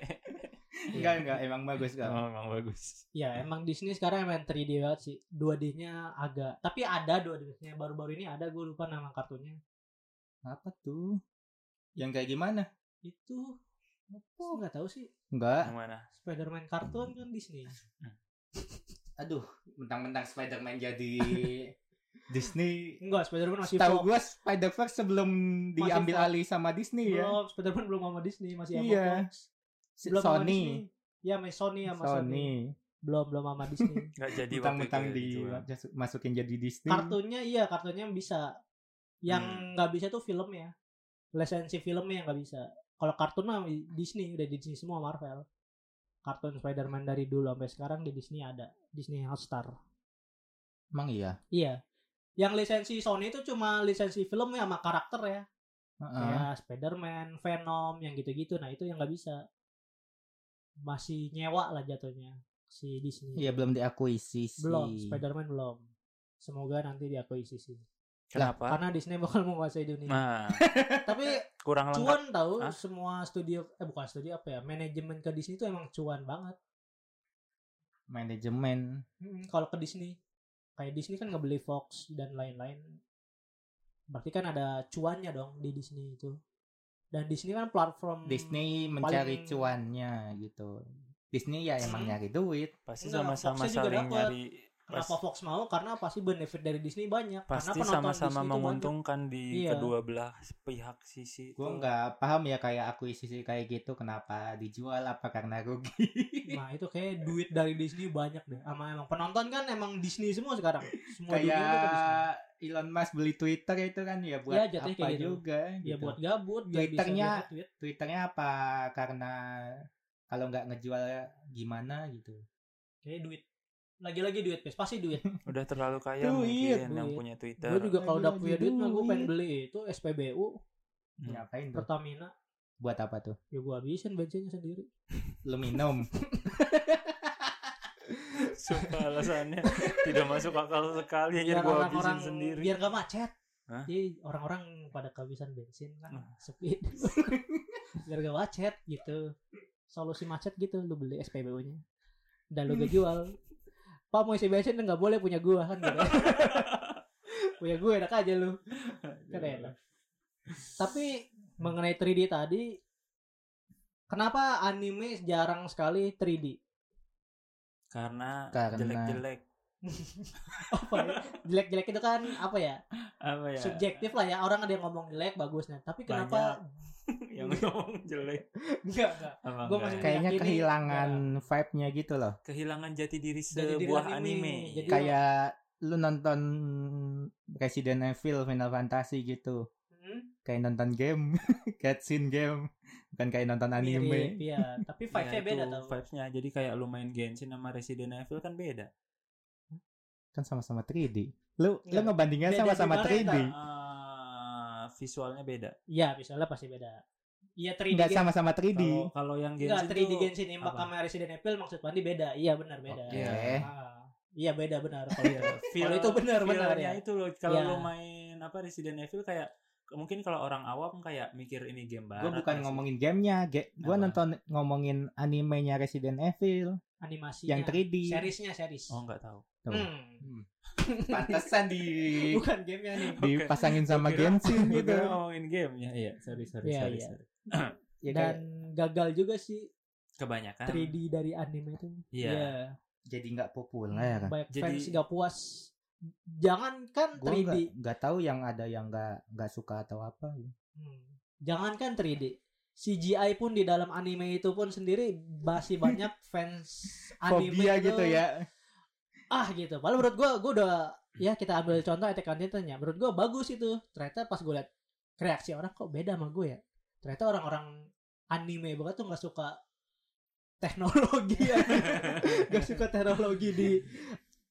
Speaker 5: Enggak
Speaker 4: Iya.
Speaker 5: enggak emang bagus enggak.
Speaker 3: Oh, emang bagus.
Speaker 4: Ya, emang Disney sekarang emang 3D banget sih. 2D-nya agak tapi ada 2D-nya baru-baru ini ada gue lupa nama kartunya.
Speaker 5: Apa tuh? Yang kayak gimana?
Speaker 4: Itu Apa nggak tahu sih.
Speaker 5: Enggak.
Speaker 3: Gimana?
Speaker 4: Spider-Man kartun kan Disney.
Speaker 5: Aduh, mentang-mentang Spider-Man jadi Disney.
Speaker 4: Enggak, Spider-Man masih
Speaker 5: Tahu
Speaker 4: Fox.
Speaker 5: gue Spider-Verse sebelum diambil
Speaker 4: Fox.
Speaker 5: alih sama Disney ya.
Speaker 4: Belum, Spider-Man belum sama Disney, masih sama
Speaker 5: Iya.
Speaker 4: Fox. Belum sama
Speaker 5: Sony.
Speaker 4: Disney. Iya, sama Sony sama Sony.
Speaker 5: Sony.
Speaker 4: Belum belum sama Disney.
Speaker 3: Nggak jadi waktu
Speaker 5: Mentang-mentang
Speaker 3: itu ya, dijual.
Speaker 5: dimasukin jadi Disney.
Speaker 4: kartunnya iya, kartunnya bisa.
Speaker 3: Hmm.
Speaker 4: Yang nggak bisa tuh filmnya. Lisensi filmnya yang nggak bisa. Kalau kartun mah Disney udah di Disney semua Marvel. Kartun Spider-Man dari dulu sampai sekarang di Disney ada. Disney Hotstar.
Speaker 5: Emang iya.
Speaker 4: Iya. Yang lisensi Sony itu cuma lisensi film ya sama karakter ya.
Speaker 5: Heeh.
Speaker 4: Kayak Spider-Man, Venom, yang gitu-gitu. Nah, itu yang nggak bisa. Masih nyewa lah jatuhnya si Disney.
Speaker 5: Iya belum diakuisisi.
Speaker 4: Belum, Spider-Man belum. Semoga nanti diakuisisi.
Speaker 3: Kenapa?
Speaker 4: Karena Disney bakal menguasai dunia.
Speaker 3: Nah,
Speaker 4: Tapi
Speaker 3: kurang lengkap.
Speaker 4: cuan tahu
Speaker 3: Hah?
Speaker 4: semua studio eh bukan studio apa ya, manajemen ke Disney itu emang cuan banget.
Speaker 5: Manajemen.
Speaker 4: Mm, Kalau ke Disney kayak Disney kan ngebeli Fox dan lain-lain. Berarti kan ada cuannya dong di Disney itu. Dan Disney kan platform
Speaker 5: Disney mencari
Speaker 4: Paling-
Speaker 5: cuannya gitu. Disney ya emang
Speaker 4: Hmm.
Speaker 5: nyari duit.
Speaker 3: Pasti
Speaker 4: Enggak,
Speaker 3: sama-sama
Speaker 4: Foxnya juga
Speaker 3: saling
Speaker 4: dapat.
Speaker 3: nyari pas-
Speaker 4: Kenapa Fox mau? Karena pasti benefit dari Disney banyak.
Speaker 3: pasti
Speaker 4: Karena penonton
Speaker 3: sama-sama
Speaker 4: Disney itu
Speaker 3: menguntungkan di
Speaker 4: Iya.
Speaker 3: kedua belah pihak sisi.
Speaker 5: Gue
Speaker 3: itu.
Speaker 5: nggak paham ya kayak akuisisi kayak gitu kenapa dijual apa karena rugi.
Speaker 4: banyak. Nah itu kayak duit dari Disney banyak deh. Sama emang penonton kan emang Disney semua sekarang. Semua dunia itu ke Disney.
Speaker 5: kayak Elon Musk beli Twitter itu kan ya buat
Speaker 4: Ya, jatuhnya
Speaker 5: apa
Speaker 4: kayak gitu.
Speaker 5: juga
Speaker 4: Ya
Speaker 5: gitu.
Speaker 4: buat gabut. biar bisa
Speaker 5: Twitternya-
Speaker 4: dapat duit.
Speaker 5: Twitternya apa karena kalau nggak ngejual gimana gitu.
Speaker 4: Kayak duit. Lagi-lagi duit. Pes. Pasti duit.
Speaker 3: Udah terlalu kaya
Speaker 5: Duit,
Speaker 3: mungkin yang
Speaker 4: duit.
Speaker 3: punya Twitter.
Speaker 4: gue juga kalau udah
Speaker 5: Lagi-lagi
Speaker 4: punya duit mah gue pengen
Speaker 5: duit.
Speaker 4: beli itu SPBU.
Speaker 3: Hmm.
Speaker 5: Ngapain tuh?
Speaker 4: Pertamina.
Speaker 5: Buat apa tuh?
Speaker 4: Ya gue habisin bensinnya sendiri.
Speaker 5: Lu minum.
Speaker 3: Sumpah alasannya tidak masuk akal sekali aja gue
Speaker 4: Biar orang-orang.
Speaker 3: habisin sendiri.
Speaker 4: Biar gak macet.
Speaker 3: Hah?
Speaker 4: Jadi orang-orang pada kehabisan bensin kan
Speaker 3: Hmm.
Speaker 4: sepi. biar gak macet gitu. Solusi macet gitu lu beli SPBU-nya. Dan lu gak jual. Pak mau isi bensin nggak boleh punya gua kan gitu. punya gue enak aja lu. Keren. Tapi mengenai 3D tadi Kenapa anime jarang sekali 3D?
Speaker 3: Karena,
Speaker 5: Karena-
Speaker 3: jelek-jelek
Speaker 4: Apa ya? Jelek-jelek itu kan apa ya?
Speaker 3: apa ya?
Speaker 4: Subjektif lah ya. Orang ada yang ngomong jelek bagusnya. Tapi kenapa?
Speaker 3: yang ngomong jelek.
Speaker 4: Enggak, enggak. ya?
Speaker 3: Apa
Speaker 4: Gua
Speaker 3: enggak?
Speaker 4: masih
Speaker 5: Kayaknya
Speaker 4: Yakini.
Speaker 5: kehilangan
Speaker 4: ya.
Speaker 5: vibe-nya gitu loh.
Speaker 3: kehilangan jati diri
Speaker 4: Jati diri
Speaker 3: sebuah
Speaker 4: anime.
Speaker 3: anime.
Speaker 4: Jadi- Iya.
Speaker 5: Kayak lu nonton Resident Evil Final Fantasy gitu.
Speaker 4: Hmm?
Speaker 5: Kayak nonton game, cutscene game, bukan kayak nonton
Speaker 4: Mirip,
Speaker 5: anime.
Speaker 4: Iya, tapi
Speaker 3: Ya,
Speaker 4: vibe-nya beda
Speaker 3: itu
Speaker 4: tau.
Speaker 3: Vibes-nya jadi kayak lu main Genshin sama Resident Evil kan beda.
Speaker 5: Kan sama-sama 3D. Lu lu
Speaker 4: Iya.
Speaker 5: ngebandingin
Speaker 4: Beda
Speaker 5: sama-sama
Speaker 4: gimana,
Speaker 5: 3D.
Speaker 4: Tan?
Speaker 3: Ah, visualnya beda.
Speaker 4: Iya, visualnya pasti beda. Iya 3D
Speaker 5: Enggak
Speaker 4: Gen-
Speaker 5: sama-sama 3D.
Speaker 4: Oh,
Speaker 3: Kalau kalau yang
Speaker 4: Enggak,
Speaker 3: Genshin
Speaker 4: 3D
Speaker 3: tuh
Speaker 4: Genshin Impact
Speaker 3: apa?
Speaker 4: sama Resident Evil maksud Pandi beda. Iya, benar beda.
Speaker 5: Oke.
Speaker 4: Ah, iya beda benar kalau itu.
Speaker 3: feel-
Speaker 4: Kalau itu benar benar
Speaker 3: feel-nya
Speaker 4: ya.
Speaker 3: itu loh kalau
Speaker 4: Iya.
Speaker 3: lu main apa Resident Evil kayak mungkin kalau orang awam kayak mikir ini game barat.
Speaker 5: Gue bukan
Speaker 3: Resident-
Speaker 5: ngomongin gamenya, ge- gue
Speaker 3: Apa?
Speaker 5: nonton ngomongin animenya Resident Evil
Speaker 4: Animasinya.
Speaker 5: yang 3D.
Speaker 4: ya. Seriesnya Iya. series.
Speaker 3: Oh, enggak tahu.
Speaker 4: Hmm.
Speaker 5: Pantesan di
Speaker 4: Bukan gamenya nih.
Speaker 5: dipasangin sama
Speaker 3: Gua kira-
Speaker 5: Genshin
Speaker 3: Gua kira
Speaker 5: gitu.
Speaker 3: ngomongin gamenya. Iya, sorry sorry
Speaker 4: Iya,
Speaker 3: sorry,
Speaker 4: iya.
Speaker 3: sorry.
Speaker 5: Ya,
Speaker 4: Dan
Speaker 5: kayak
Speaker 4: gagal juga sih
Speaker 3: Kebanyakan.
Speaker 4: 3D dari anime itu.
Speaker 3: Ah. Iya.
Speaker 5: jadi nggak populer.
Speaker 4: Banyak
Speaker 3: Jadi-
Speaker 4: fans gak puas. Jangankan
Speaker 5: Gue
Speaker 4: 3D.
Speaker 5: nggak nggak tahu yang ada yang nggak nggak suka atau apa.
Speaker 4: Hmm. Jangankan 3D, CGI pun di dalam anime itu pun sendiri masih banyak fans anime
Speaker 5: Fobia
Speaker 4: itu,
Speaker 5: gitu ya.
Speaker 4: Ah gitu. Padahal menurut gua gua udah ya kita ambil contoh Attack on Titan ya. Menurut gua bagus itu. Ternyata pas gua liat reaksi orang kok beda sama gue ya. Ternyata orang-orang anime banget tuh nggak suka teknologi ya. gak suka teknologi di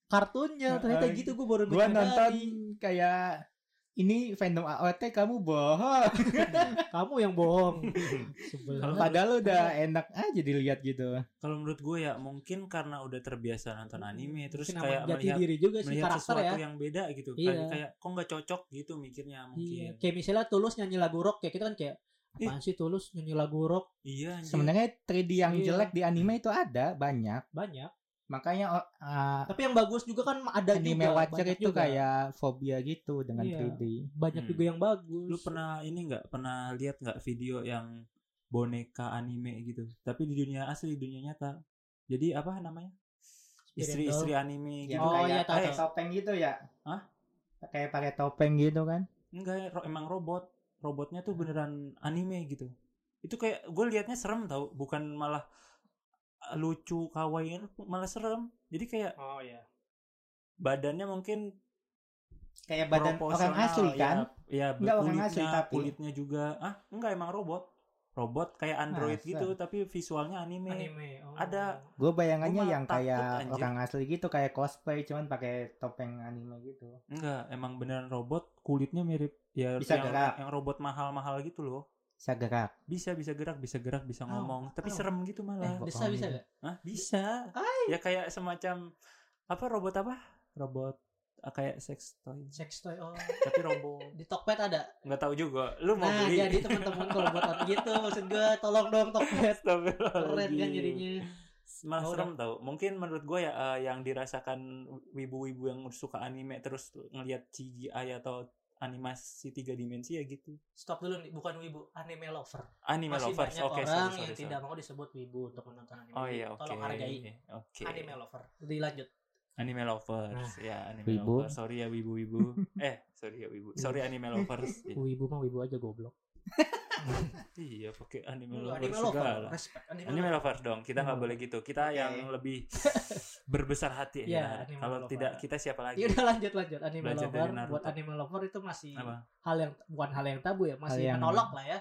Speaker 4: kartunnya ternyata
Speaker 5: Heeh.
Speaker 4: gitu gue baru
Speaker 5: Gue
Speaker 4: menyadari.
Speaker 5: nonton kayak ini fandom AOT kamu bohong.
Speaker 4: kamu yang bohong Sebel.
Speaker 3: Kalau
Speaker 5: Padahal udah enak aja dilihat
Speaker 4: Iya.
Speaker 5: gitu.
Speaker 3: Kalau menurut gue ya mungkin karena udah terbiasa nonton anime terus
Speaker 4: Mungkin
Speaker 3: kayak
Speaker 4: amat jati
Speaker 3: melihat
Speaker 4: diri juga sih
Speaker 3: melihat
Speaker 4: karakter ya
Speaker 3: sesuatu yang beda gitu
Speaker 4: Iya.
Speaker 3: kayak kayak kok nggak cocok gitu mikirnya
Speaker 4: Iya.
Speaker 3: mungkin
Speaker 4: Kayak misalnya Tulus nyanyi lagu rock kayak kita kan kayak apaan sih Tulus nyanyi lagu rock
Speaker 3: iya anjir.
Speaker 5: Sebenarnya 3D yang
Speaker 4: Iya.
Speaker 5: jelek di anime itu ada banyak.
Speaker 4: banyak.
Speaker 5: Makanya o- ah,
Speaker 4: Tapi yang bagus juga kan ada
Speaker 5: anime
Speaker 4: juga,
Speaker 5: Watcher
Speaker 4: banyak
Speaker 5: itu
Speaker 4: juga.
Speaker 5: kayak fobia gitu dengan
Speaker 4: Iya.
Speaker 5: 3D.
Speaker 4: banyak
Speaker 3: Hmm.
Speaker 4: juga yang bagus.
Speaker 3: lu pernah ini nggak pernah lihat nggak video yang boneka anime gitu tapi di dunia asli dunia nyata jadi apa namanya
Speaker 4: Spirit
Speaker 3: istri-istri anime
Speaker 5: Yang
Speaker 3: gitu
Speaker 4: Oh, iya,
Speaker 5: kayak
Speaker 4: tahu,
Speaker 5: pakai
Speaker 4: tahu.
Speaker 5: topeng gitu ya?
Speaker 3: Hah?
Speaker 5: Kayak pakai topeng gitu kan?
Speaker 3: enggak ya, ro- emang robot robotnya
Speaker 5: Hmm.
Speaker 3: tuh beneran anime gitu itu kayak gue liatnya serem tau bukan malah eh, lucu kawaii eh, malah serem jadi kayak
Speaker 4: Oh iya.
Speaker 3: badannya mungkin
Speaker 5: Kayak badan orang asli
Speaker 4: iya.
Speaker 5: kan?
Speaker 3: ya, ya
Speaker 5: Enggak orang
Speaker 3: kulitnya,
Speaker 5: asli, tapi-
Speaker 3: kulitnya juga ah enggak emang robot robot kayak android
Speaker 5: Masa?
Speaker 3: gitu tapi visualnya anime,
Speaker 4: Anime. Oh.
Speaker 3: Ada.
Speaker 5: Gue bayangannya
Speaker 3: Gua malah
Speaker 5: yang
Speaker 3: takut,
Speaker 5: kayak
Speaker 3: anjir.
Speaker 5: orang asli gitu, kayak cosplay cuman pakai topeng anime gitu.
Speaker 3: enggak emang beneran robot kulitnya mirip ya
Speaker 5: Bisa
Speaker 3: yang,
Speaker 5: gerak.
Speaker 3: yang robot mahal-mahal gitu loh
Speaker 5: Bisa gerak.
Speaker 3: bisa bisa gerak bisa gerak bisa
Speaker 4: Ow,
Speaker 3: ngomong tapi
Speaker 4: ow.
Speaker 3: serem gitu malah
Speaker 5: Eh,
Speaker 4: Bisa bisa gak?
Speaker 3: Hah? bisa ya kayak semacam apa robot apa robot ah, kayak sex toy
Speaker 4: Sex toy. Oh.
Speaker 3: tapi robot
Speaker 4: Di Tokped ada.
Speaker 3: nggak tahu juga lu mau
Speaker 4: Nah,
Speaker 3: beli
Speaker 4: jadi teman-teman kalau buat orang gitu maksud gue tolong dong Tokped. Keren kan
Speaker 3: Astagfirullahaladzim.
Speaker 4: jadinya.
Speaker 3: malah
Speaker 4: Oh,
Speaker 3: serem tau mungkin menurut gue ya eh, yang dirasakan wibu-wibu yang suka anime terus ngelihat CGI atau animasi tiga dimensi ya gitu
Speaker 4: Stop dulu nih, bukan wibu, anime lover.
Speaker 3: anime
Speaker 4: Masih
Speaker 3: lovers
Speaker 4: banyak
Speaker 3: oke
Speaker 4: orang
Speaker 3: sorry,
Speaker 4: yang
Speaker 3: sorry,
Speaker 4: tidak
Speaker 3: sorry.
Speaker 4: mau disebut wibu untuk menonton anime.
Speaker 3: oh iya oke
Speaker 4: Tolong hargai
Speaker 3: oke
Speaker 4: anime lover. Dilanjut.
Speaker 3: anime lovers ya anime
Speaker 5: Wibu.
Speaker 3: lovers sorry ya wibu-wibu eh sorry ya wibu sorry anime lovers Iya.
Speaker 4: Wibu mah wibu aja goblok.
Speaker 3: iya pakai anime
Speaker 4: Lu
Speaker 3: lovers
Speaker 4: Anime
Speaker 3: segala.
Speaker 4: lover. Respect anime,
Speaker 3: Anime
Speaker 4: lover.
Speaker 3: lovers dong, kita nggak
Speaker 4: Hmm.
Speaker 3: boleh gitu. Kita
Speaker 5: Oke.
Speaker 3: yang lebih berbesar hati
Speaker 4: Iya,
Speaker 3: ya.
Speaker 4: anime
Speaker 3: Kalau
Speaker 4: lover.
Speaker 3: tidak kita siapa lagi?
Speaker 4: Ya udah lanjut lanjut anime
Speaker 3: Belajar dari
Speaker 4: lover
Speaker 3: Naruto.
Speaker 4: buat anime lover itu masih
Speaker 3: Apa?
Speaker 4: hal yang bukan hal yang tabu ya, masih
Speaker 5: Hal yang-
Speaker 4: menolak lah ya.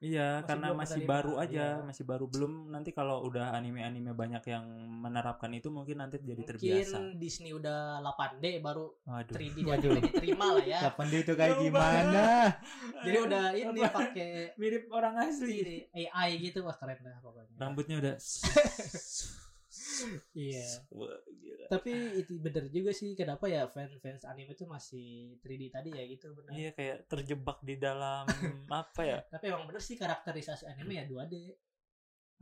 Speaker 3: Iya,
Speaker 4: Masih
Speaker 3: karena
Speaker 4: belum
Speaker 3: masih
Speaker 4: menerima,
Speaker 3: baru aja,
Speaker 4: iya.
Speaker 3: masih baru belum. Nanti kalau udah anime-anime banyak yang menerapkan itu mungkin nanti jadi terbiasa.
Speaker 4: Mungkin Disney udah 8D baru
Speaker 3: Waduh.
Speaker 4: 3D jadi boleh diterima lah ya.
Speaker 5: Kapan dia itu kayak
Speaker 3: Jauh
Speaker 5: gimana?
Speaker 4: Jadi udah ini
Speaker 3: Apa?
Speaker 4: pakai
Speaker 3: mirip orang asli.
Speaker 4: ini, AI gitu wah keren dah pokoknya.
Speaker 3: Rambutnya udah
Speaker 4: Iya.
Speaker 3: Wah, gila.
Speaker 4: Tapi itu bener juga sih kenapa ya fans-fans anime itu masih 3D tadi ya gitu bener.
Speaker 3: Iya kayak terjebak di dalam apa ya?
Speaker 4: Tapi emang bener sih karakterisasi anime ya 2D.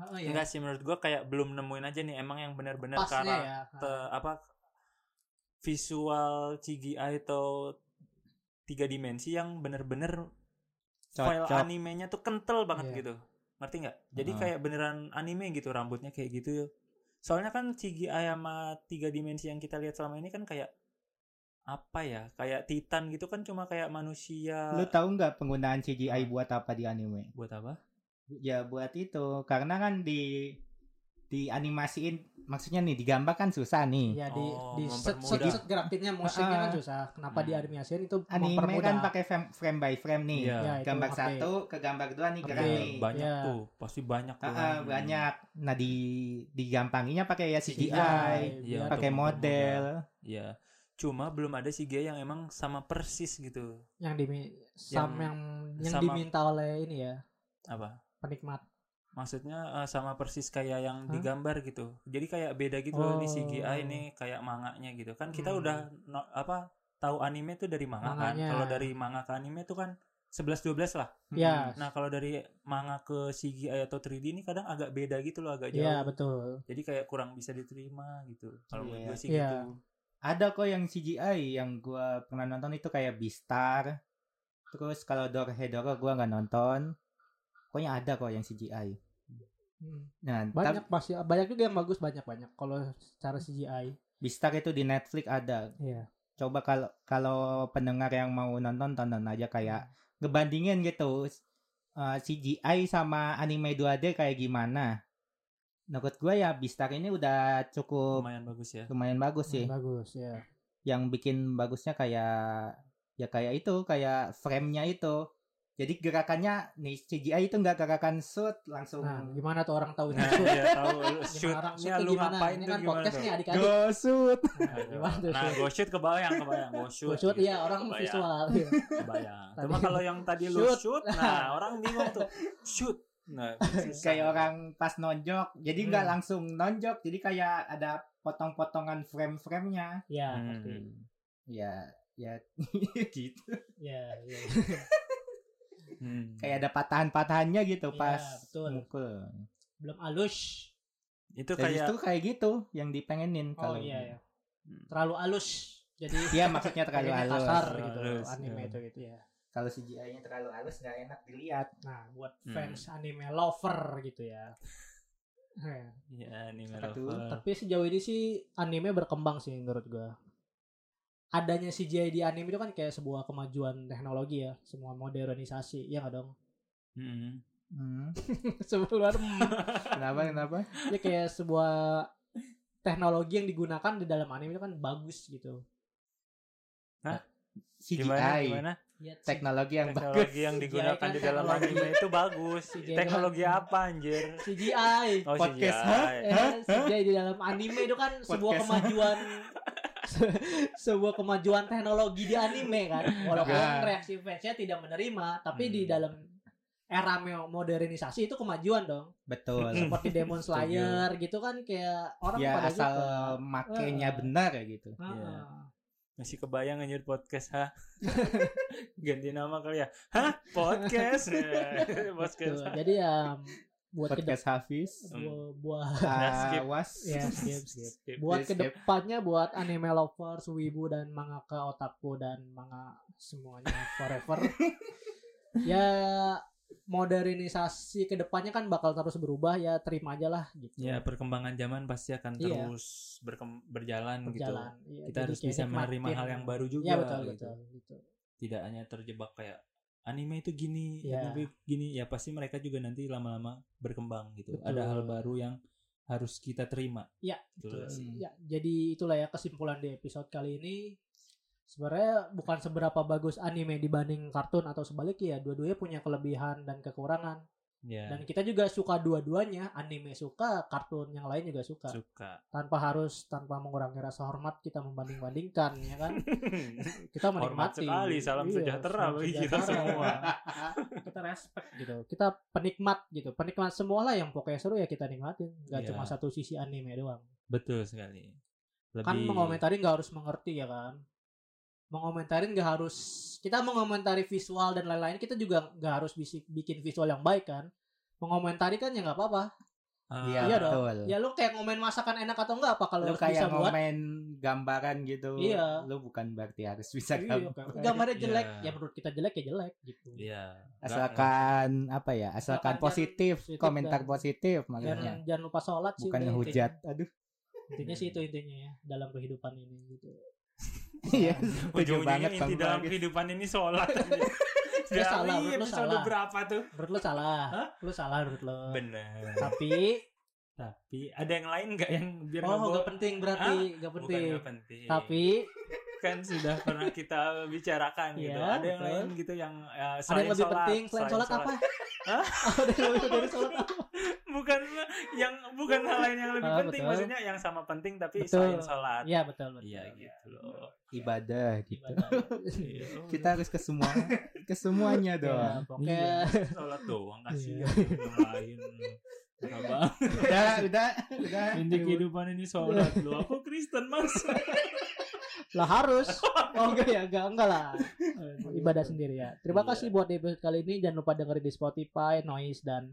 Speaker 4: Oh, iya.
Speaker 3: Enggak sih menurut gua kayak belum nemuin aja nih emang yang benar-benar
Speaker 4: pasnya
Speaker 3: karakter
Speaker 4: ya.
Speaker 3: apa visual CGI atau tiga dimensi yang benar-benar file
Speaker 5: Cocok.
Speaker 3: animenya tuh kental banget
Speaker 4: Iya.
Speaker 3: gitu ngerti nggak jadi
Speaker 5: Heeh.
Speaker 3: kayak beneran anime gitu rambutnya kayak gitu soalnya kan CGI sama tiga dimensi yang kita lihat selama ini kan kayak apa ya kayak Titan gitu kan cuma kayak manusia
Speaker 5: Lu tahu nggak penggunaan CGI buat apa di anime?
Speaker 3: buat apa
Speaker 5: Ya buat itu, karena kan di di animasiin maksudnya nih digambar kan susah nih.
Speaker 4: Ya di
Speaker 3: Oh,
Speaker 4: di set set,
Speaker 3: mempermudah.
Speaker 4: set gerakinnya musiknya
Speaker 5: Ah.
Speaker 4: kan susah. Kenapa
Speaker 3: Hmm.
Speaker 4: di animasiin itu
Speaker 5: Anime
Speaker 4: mempermudah.
Speaker 5: kan pakai frame, frame by frame nih.
Speaker 3: Iya.
Speaker 4: Ya, itu
Speaker 5: Gambar
Speaker 4: oke.
Speaker 5: satu ke gambar dua nih
Speaker 4: Oke.
Speaker 5: gerak
Speaker 3: Iya,
Speaker 5: nih.
Speaker 3: banyak
Speaker 4: Iya.
Speaker 3: tuh pasti banyak tuh
Speaker 5: Ah, ah,
Speaker 3: Hmm.
Speaker 5: banyak. Nah di digampanginya pakai ya CGI,
Speaker 3: Iya, atau
Speaker 4: biar-
Speaker 5: pakai model.
Speaker 3: ya cuma belum ada CGI yang emang sama persis gitu
Speaker 4: yang dimi
Speaker 3: Yang-
Speaker 4: sam yang yang
Speaker 3: sama-
Speaker 4: diminta oleh ini ya
Speaker 3: apa
Speaker 4: penikmat.
Speaker 3: maksudnya eh, sama persis kayak yang
Speaker 4: Hah?
Speaker 3: digambar gitu jadi kayak beda gitu loh, ini
Speaker 4: Oh.
Speaker 3: CGI ini kayak manganya gitu kan kita
Speaker 4: Hmm.
Speaker 3: udah no- apa tahu anime tuh dari manga
Speaker 4: Manganya.
Speaker 3: kan kalau dari manga ke anime tuh kan 11 12 lah
Speaker 4: Ya.
Speaker 3: nah kalau dari manga ke CGI atau 3D ini kadang agak beda gitu loh agak jauh
Speaker 4: Iya, betul.
Speaker 3: jadi kayak kurang bisa diterima gitu kalau menurut
Speaker 5: Iya.
Speaker 3: gue sih
Speaker 4: Iya.
Speaker 3: gitu
Speaker 5: Ada kok yang CGI yang gua pernah nonton itu kayak Beastar. Terus kalau Dorohedoro gua nggak nonton. Pokoknya ada kok yang CGI.
Speaker 4: Hmm.
Speaker 5: Nah, tapi
Speaker 4: Banyak pasti banyak juga yang bagus banyak-banyak kalau secara CGI.
Speaker 5: Beastar itu di Netflix ada.
Speaker 4: Iya.
Speaker 5: Coba kalau kalau pendengar yang mau nonton tonton aja kayak ngebandingin gitu eh, CGI sama anime 2D kayak gimana. Menurut gue ya Beastar ini udah cukup
Speaker 3: lumayan bagus ya
Speaker 5: lumayan bagus sih.
Speaker 4: Bagus, ya.
Speaker 5: Yang bikin bagusnya kayak ya kayak itu, kayak frame-nya itu. Jadi gerakannya nih CGI itu nggak gerakan shoot langsung
Speaker 4: Nah, gimana tuh orang tahu
Speaker 3: Nah,
Speaker 4: itu?
Speaker 3: iya, tahu lu
Speaker 4: Gimana orang
Speaker 3: shootnya
Speaker 4: shoot tuh
Speaker 3: lu
Speaker 4: gimana?
Speaker 3: ngapain
Speaker 4: Ini
Speaker 3: tuh
Speaker 4: kan
Speaker 3: gimana
Speaker 4: podcast
Speaker 3: tuh?
Speaker 4: nih adik-adik.
Speaker 5: go Oh, shoot.
Speaker 4: Gimana tuh
Speaker 3: Nah,
Speaker 4: shoot?
Speaker 3: go shoot kebayang, kebayang, go shoot.
Speaker 4: Gua shoot
Speaker 3: gitu.
Speaker 4: ya orang
Speaker 3: Kebayang.
Speaker 4: visual. Iya.
Speaker 3: Kebayang.
Speaker 4: Tadi-
Speaker 3: Cuma kalau yang tadi lu
Speaker 4: Shoot.
Speaker 3: shoot, nah orang bingung tuh. Shoot. Nah, susah.
Speaker 5: kayak orang pas nonjok. Jadi nggak
Speaker 4: Hmm.
Speaker 5: langsung nonjok, jadi kayak ada potong-potongan frame-framenya.
Speaker 3: Hmm.
Speaker 4: Iya, ngerti.
Speaker 5: Ya ya gitu.
Speaker 4: Iya, iya.
Speaker 3: Hmm.
Speaker 5: Kayak ada patahan-patahannya gitu
Speaker 4: Iya,
Speaker 5: pas
Speaker 4: betul.
Speaker 5: mukul.
Speaker 4: Belum halus.
Speaker 3: itu
Speaker 5: Jadi
Speaker 3: kayak
Speaker 5: itu kayak gitu yang dipengenin
Speaker 4: Oh
Speaker 5: kalau
Speaker 4: iya ya.
Speaker 3: Hmm.
Speaker 4: Terlalu halus. Jadi
Speaker 5: Iya, maksudnya terlalu
Speaker 4: pengennya
Speaker 5: halus.
Speaker 4: kasar gitu
Speaker 3: Halus,
Speaker 4: anime
Speaker 3: iya.
Speaker 4: itu gitu ya.
Speaker 5: Kalau CGI-nya terlalu halus nggak enak dilihat.
Speaker 4: Nah, buat fans anime lover gitu ya. Eh,
Speaker 3: Iya, anime
Speaker 5: Apa tuh?
Speaker 3: lover.
Speaker 4: Tapi sejauh ini sih anime berkembang sih menurut gua. Adanya CGI di anime itu kan kayak sebuah kemajuan teknologi ya, semua modernisasi, ya nggak dong?
Speaker 3: Mm-mm.
Speaker 5: Hmm.
Speaker 4: Sebelum
Speaker 5: Kenapa kenapa?
Speaker 4: ya kayak sebuah teknologi yang digunakan di dalam anime itu kan bagus gitu.
Speaker 5: CGI.
Speaker 3: Gimana gimana?
Speaker 4: Ya,
Speaker 5: Teknologi yang bagus.
Speaker 3: Teknologi yang
Speaker 4: CGI
Speaker 3: digunakan
Speaker 4: kan
Speaker 3: di dalam
Speaker 4: teknologi.
Speaker 3: anime itu bagus.
Speaker 4: CGI kan-
Speaker 3: Teknologi apa anjir?
Speaker 4: CGI.
Speaker 3: Oh,
Speaker 5: Podcast,
Speaker 3: CGI.
Speaker 5: hah?
Speaker 4: Eh, CGI di dalam anime itu kan sebuah
Speaker 5: Podcast.
Speaker 4: kemajuan se- sebuah kemajuan teknologi di anime kan. Walaupun
Speaker 5: Ah.
Speaker 4: reaksi fansnya tidak menerima, tapi
Speaker 3: Hmm.
Speaker 4: di dalam era mo- modernisasi itu kemajuan dong.
Speaker 5: Betul.
Speaker 3: Hmm.
Speaker 4: Seperti Demon
Speaker 5: Setuju.
Speaker 4: Slayer gitu kan kayak orang
Speaker 5: ya
Speaker 4: pada
Speaker 5: asal
Speaker 4: suka.
Speaker 5: makainya
Speaker 4: Heeh.
Speaker 5: benar ya gitu.
Speaker 4: Ah,
Speaker 3: Iya.
Speaker 4: ah.
Speaker 3: Masih kebayang anjir podcast ha? Ganti nama kali ya. Hah? Podcast. Ya,
Speaker 4: Tuh,
Speaker 3: podcast. ha?
Speaker 4: Jadi ya buat ke
Speaker 5: Podcast Hmm. Hafiz.
Speaker 4: bu- buat
Speaker 3: Nah, skip.
Speaker 5: Awas.
Speaker 4: ya, skip, skip.
Speaker 3: Skip.
Speaker 4: buat
Speaker 5: skip.
Speaker 4: kedepannya buat anime lovers, wibu dan mangaka otaku dan manga semuanya forever. ya modernisasi kedepannya kan bakal terus berubah ya terima aja lah gitu.
Speaker 3: Ya, perkembangan zaman pasti akan
Speaker 4: Iya.
Speaker 3: terus berkem- berjalan, gitu.
Speaker 4: berjalan. Iya,
Speaker 3: Kita
Speaker 4: jadi
Speaker 3: harus
Speaker 4: kayak
Speaker 3: bisa menerima
Speaker 4: nikmatin.
Speaker 3: hal yang baru juga.
Speaker 4: Iya betul
Speaker 3: gitu.
Speaker 4: betul gitu.
Speaker 3: Tidak hanya terjebak kayak anime itu gini,
Speaker 4: Iya.
Speaker 3: anime gini. Ya pasti mereka juga nanti lama-lama berkembang gitu.
Speaker 4: Betul.
Speaker 3: Ada hal baru yang harus kita terima.
Speaker 4: Iya,
Speaker 3: Gitu.
Speaker 4: Betul.
Speaker 5: Hmm.
Speaker 4: Ya, jadi itulah ya kesimpulan di episode kali ini. Sebenarnya bukan seberapa bagus anime dibanding kartun atau sebaliknya ya, dua-duanya punya kelebihan dan kekurangan.
Speaker 3: Ya,
Speaker 4: Dan kita juga suka dua-duanya, anime suka, kartun yang lain juga suka.
Speaker 3: suka.
Speaker 4: Tanpa harus tanpa mengurangi rasa hormat kita membanding-bandingkan ya kan. Kita
Speaker 3: Hormat
Speaker 4: menikmati. Iya,
Speaker 3: sekali, salam sejahtera
Speaker 4: salam
Speaker 3: bagi kita
Speaker 4: sejahtera.
Speaker 3: semua.
Speaker 4: kita respect gitu. Kita penikmat gitu. Penikmat semua lah yang pokoknya seru ya kita nikmatin. Gak
Speaker 3: Iya.
Speaker 4: cuma satu sisi anime doang.
Speaker 3: Betul sekali. Lebih
Speaker 4: Kan mengomentari nggak harus mengerti ya kan. Mengomentarin nggak harus kita mengomentari visual dan lain-lain kita juga nggak harus bisi- bikin visual yang baik kan. Mengomentari kan ya nggak apa-apa.
Speaker 3: Ah,
Speaker 5: Iya
Speaker 4: Iya dong.
Speaker 5: betul.
Speaker 4: Ya lu kayak ngomen masakan enak atau enggak apa kalau
Speaker 5: Lu
Speaker 4: harus bisa
Speaker 5: kayak
Speaker 4: buat
Speaker 5: ngomen gambaran gitu.
Speaker 4: Iya.
Speaker 5: Lu bukan berarti harus bisa
Speaker 4: Iya,
Speaker 5: gambar.
Speaker 4: kayak, gambarnya
Speaker 3: Iya.
Speaker 4: jelek ya menurut kita jelek ya jelek gitu.
Speaker 3: Iya.
Speaker 4: kan
Speaker 5: Asalkan apa ya?
Speaker 4: Asalkan
Speaker 5: Asalkan
Speaker 4: jangan
Speaker 5: positif,
Speaker 4: positif kan. Iya.
Speaker 5: komentar
Speaker 4: dan-
Speaker 5: positif
Speaker 4: Dan
Speaker 5: makanya.
Speaker 4: jangan lupa sholat sih.
Speaker 5: Bukan
Speaker 4: udah,
Speaker 5: ngehujat. Aduh.
Speaker 4: Intinya, intinya sih itu intinya ya dalam kehidupan ini gitu.
Speaker 5: Iya, setuju
Speaker 3: Ujung-ujungnya
Speaker 5: banget gitu.
Speaker 3: inti
Speaker 5: Bang
Speaker 3: dalam
Speaker 5: Bagus.
Speaker 3: kehidupan ini sholat.
Speaker 4: Lu gitu. salah,
Speaker 3: Dari
Speaker 4: lu
Speaker 3: episode
Speaker 4: salah. Eh.
Speaker 3: berapa tuh?
Speaker 4: Menurut lu salah,
Speaker 3: Hah?
Speaker 4: lu salah menurut lu.
Speaker 3: Bener.
Speaker 4: Tapi
Speaker 3: Tapi ada yang lain nggak yang biar
Speaker 4: oh
Speaker 3: nggak
Speaker 4: nggak
Speaker 3: bo-
Speaker 4: penting berarti nggak
Speaker 3: Bukan
Speaker 4: penting.
Speaker 3: nggak penting.
Speaker 4: Tapi
Speaker 3: kan sudah pernah kita bicarakan gitu.
Speaker 4: Iya,
Speaker 3: Ada yang
Speaker 4: betul.
Speaker 3: lain gitu yang eh,
Speaker 4: ada
Speaker 3: selain
Speaker 4: yang lebih
Speaker 3: sholat,
Speaker 4: penting selain sholat, apa?
Speaker 3: Hah?
Speaker 4: ada yang lebih dari sholat apa?
Speaker 3: bukan yang bukan hal lain yang lebih
Speaker 4: Ah,
Speaker 3: penting
Speaker 4: betul.
Speaker 3: maksudnya yang sama penting tapi
Speaker 4: Betul.
Speaker 3: selain sholat.
Speaker 4: Iya betul betul.
Speaker 3: Iya gitu loh.
Speaker 5: Ibadah gitu.
Speaker 4: Ibadah.
Speaker 3: Iya.
Speaker 5: Kita harus ke semua ke semuanya
Speaker 4: Ya,
Speaker 5: dong.
Speaker 4: pokoknya
Speaker 3: Iya. sholat doang
Speaker 4: Iya.
Speaker 3: kasihan yang lain. Kenapa?
Speaker 5: udah, udah, udah.
Speaker 3: Inti kehidupan ini sholat lu. Aku Kristen mas.
Speaker 4: lah harus oh enggak ya enggak enggak lah ibadah sendiri ya terima
Speaker 3: Iya.
Speaker 4: kasih buat episode kali ini jangan lupa dengerin di Spotify Noise dan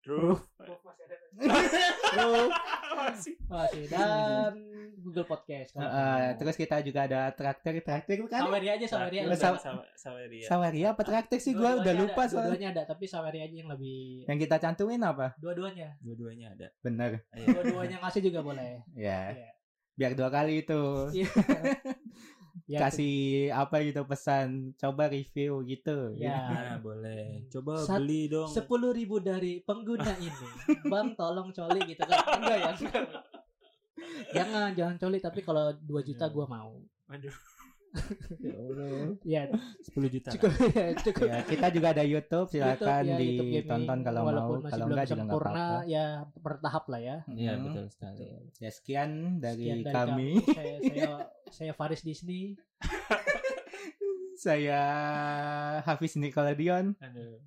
Speaker 3: Terus
Speaker 4: Roof
Speaker 3: masih.
Speaker 4: masih dan Google Podcast kalau
Speaker 5: Heeh,
Speaker 4: mau.
Speaker 5: Eh, terus kita juga ada traktir, traktir kan?
Speaker 4: Saweria aja Saweria
Speaker 5: Lu
Speaker 4: lebih
Speaker 5: sa-
Speaker 4: enak.
Speaker 3: Iya, Saweria.
Speaker 5: Saweria apa traktir sih? Gua
Speaker 4: Dua-duanya
Speaker 5: udah
Speaker 4: ada,
Speaker 5: lupa soalnya. Eh.
Speaker 4: dua-duanya ada tapi Saweria aja yang lebih
Speaker 5: Yang kita cantumin apa?
Speaker 4: dua-duanya
Speaker 3: Dua-duanya ada.
Speaker 5: Bener.
Speaker 3: Ayo.
Speaker 4: dua-duanya ngasih juga boleh
Speaker 5: Ya.
Speaker 4: Iya.
Speaker 5: Biar dua kali itu.
Speaker 4: Iya. Ya,
Speaker 5: kasih apa gitu pesan coba review gitu
Speaker 4: Ya.
Speaker 3: Nah, boleh. Coba
Speaker 4: Sat-
Speaker 3: beli dong.
Speaker 4: sepuluh ribu dari pengguna ini bang tolong coli gitu kan enggak ya Enggak. jangan jangan coli tapi kalau 2 juta gua mau
Speaker 3: Aduh,
Speaker 4: ya
Speaker 3: 10 juta.
Speaker 4: cukup ya, cukup
Speaker 5: Ya, kita juga ada YouTube silakan
Speaker 4: YouTube ya, YouTube gaming,
Speaker 5: ditonton kalau
Speaker 4: walaupun
Speaker 5: mau
Speaker 4: masih
Speaker 5: kalau
Speaker 4: belum
Speaker 5: enggak juga enggak
Speaker 4: sempurna
Speaker 5: apa-apa
Speaker 4: ya bertahap lah ya
Speaker 5: Mm.
Speaker 3: Iya, betul sekali.
Speaker 5: ya sekian
Speaker 4: Sekian
Speaker 5: dari,
Speaker 4: dari
Speaker 5: kami.
Speaker 4: saya, saya saya Faris Disney
Speaker 5: saya Hafiz Nickelodeon
Speaker 3: Aduh.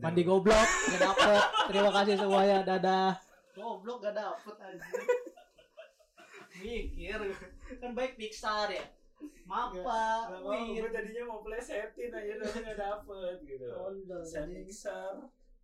Speaker 4: mandi goblok gak dapet terima kasih semuanya dadah goblok gak dapet mikir kan baik Pixar ya Mapa,
Speaker 3: Gua tadinya mau plesetin aja tapi enggak dapet gitu. Saya Pixar.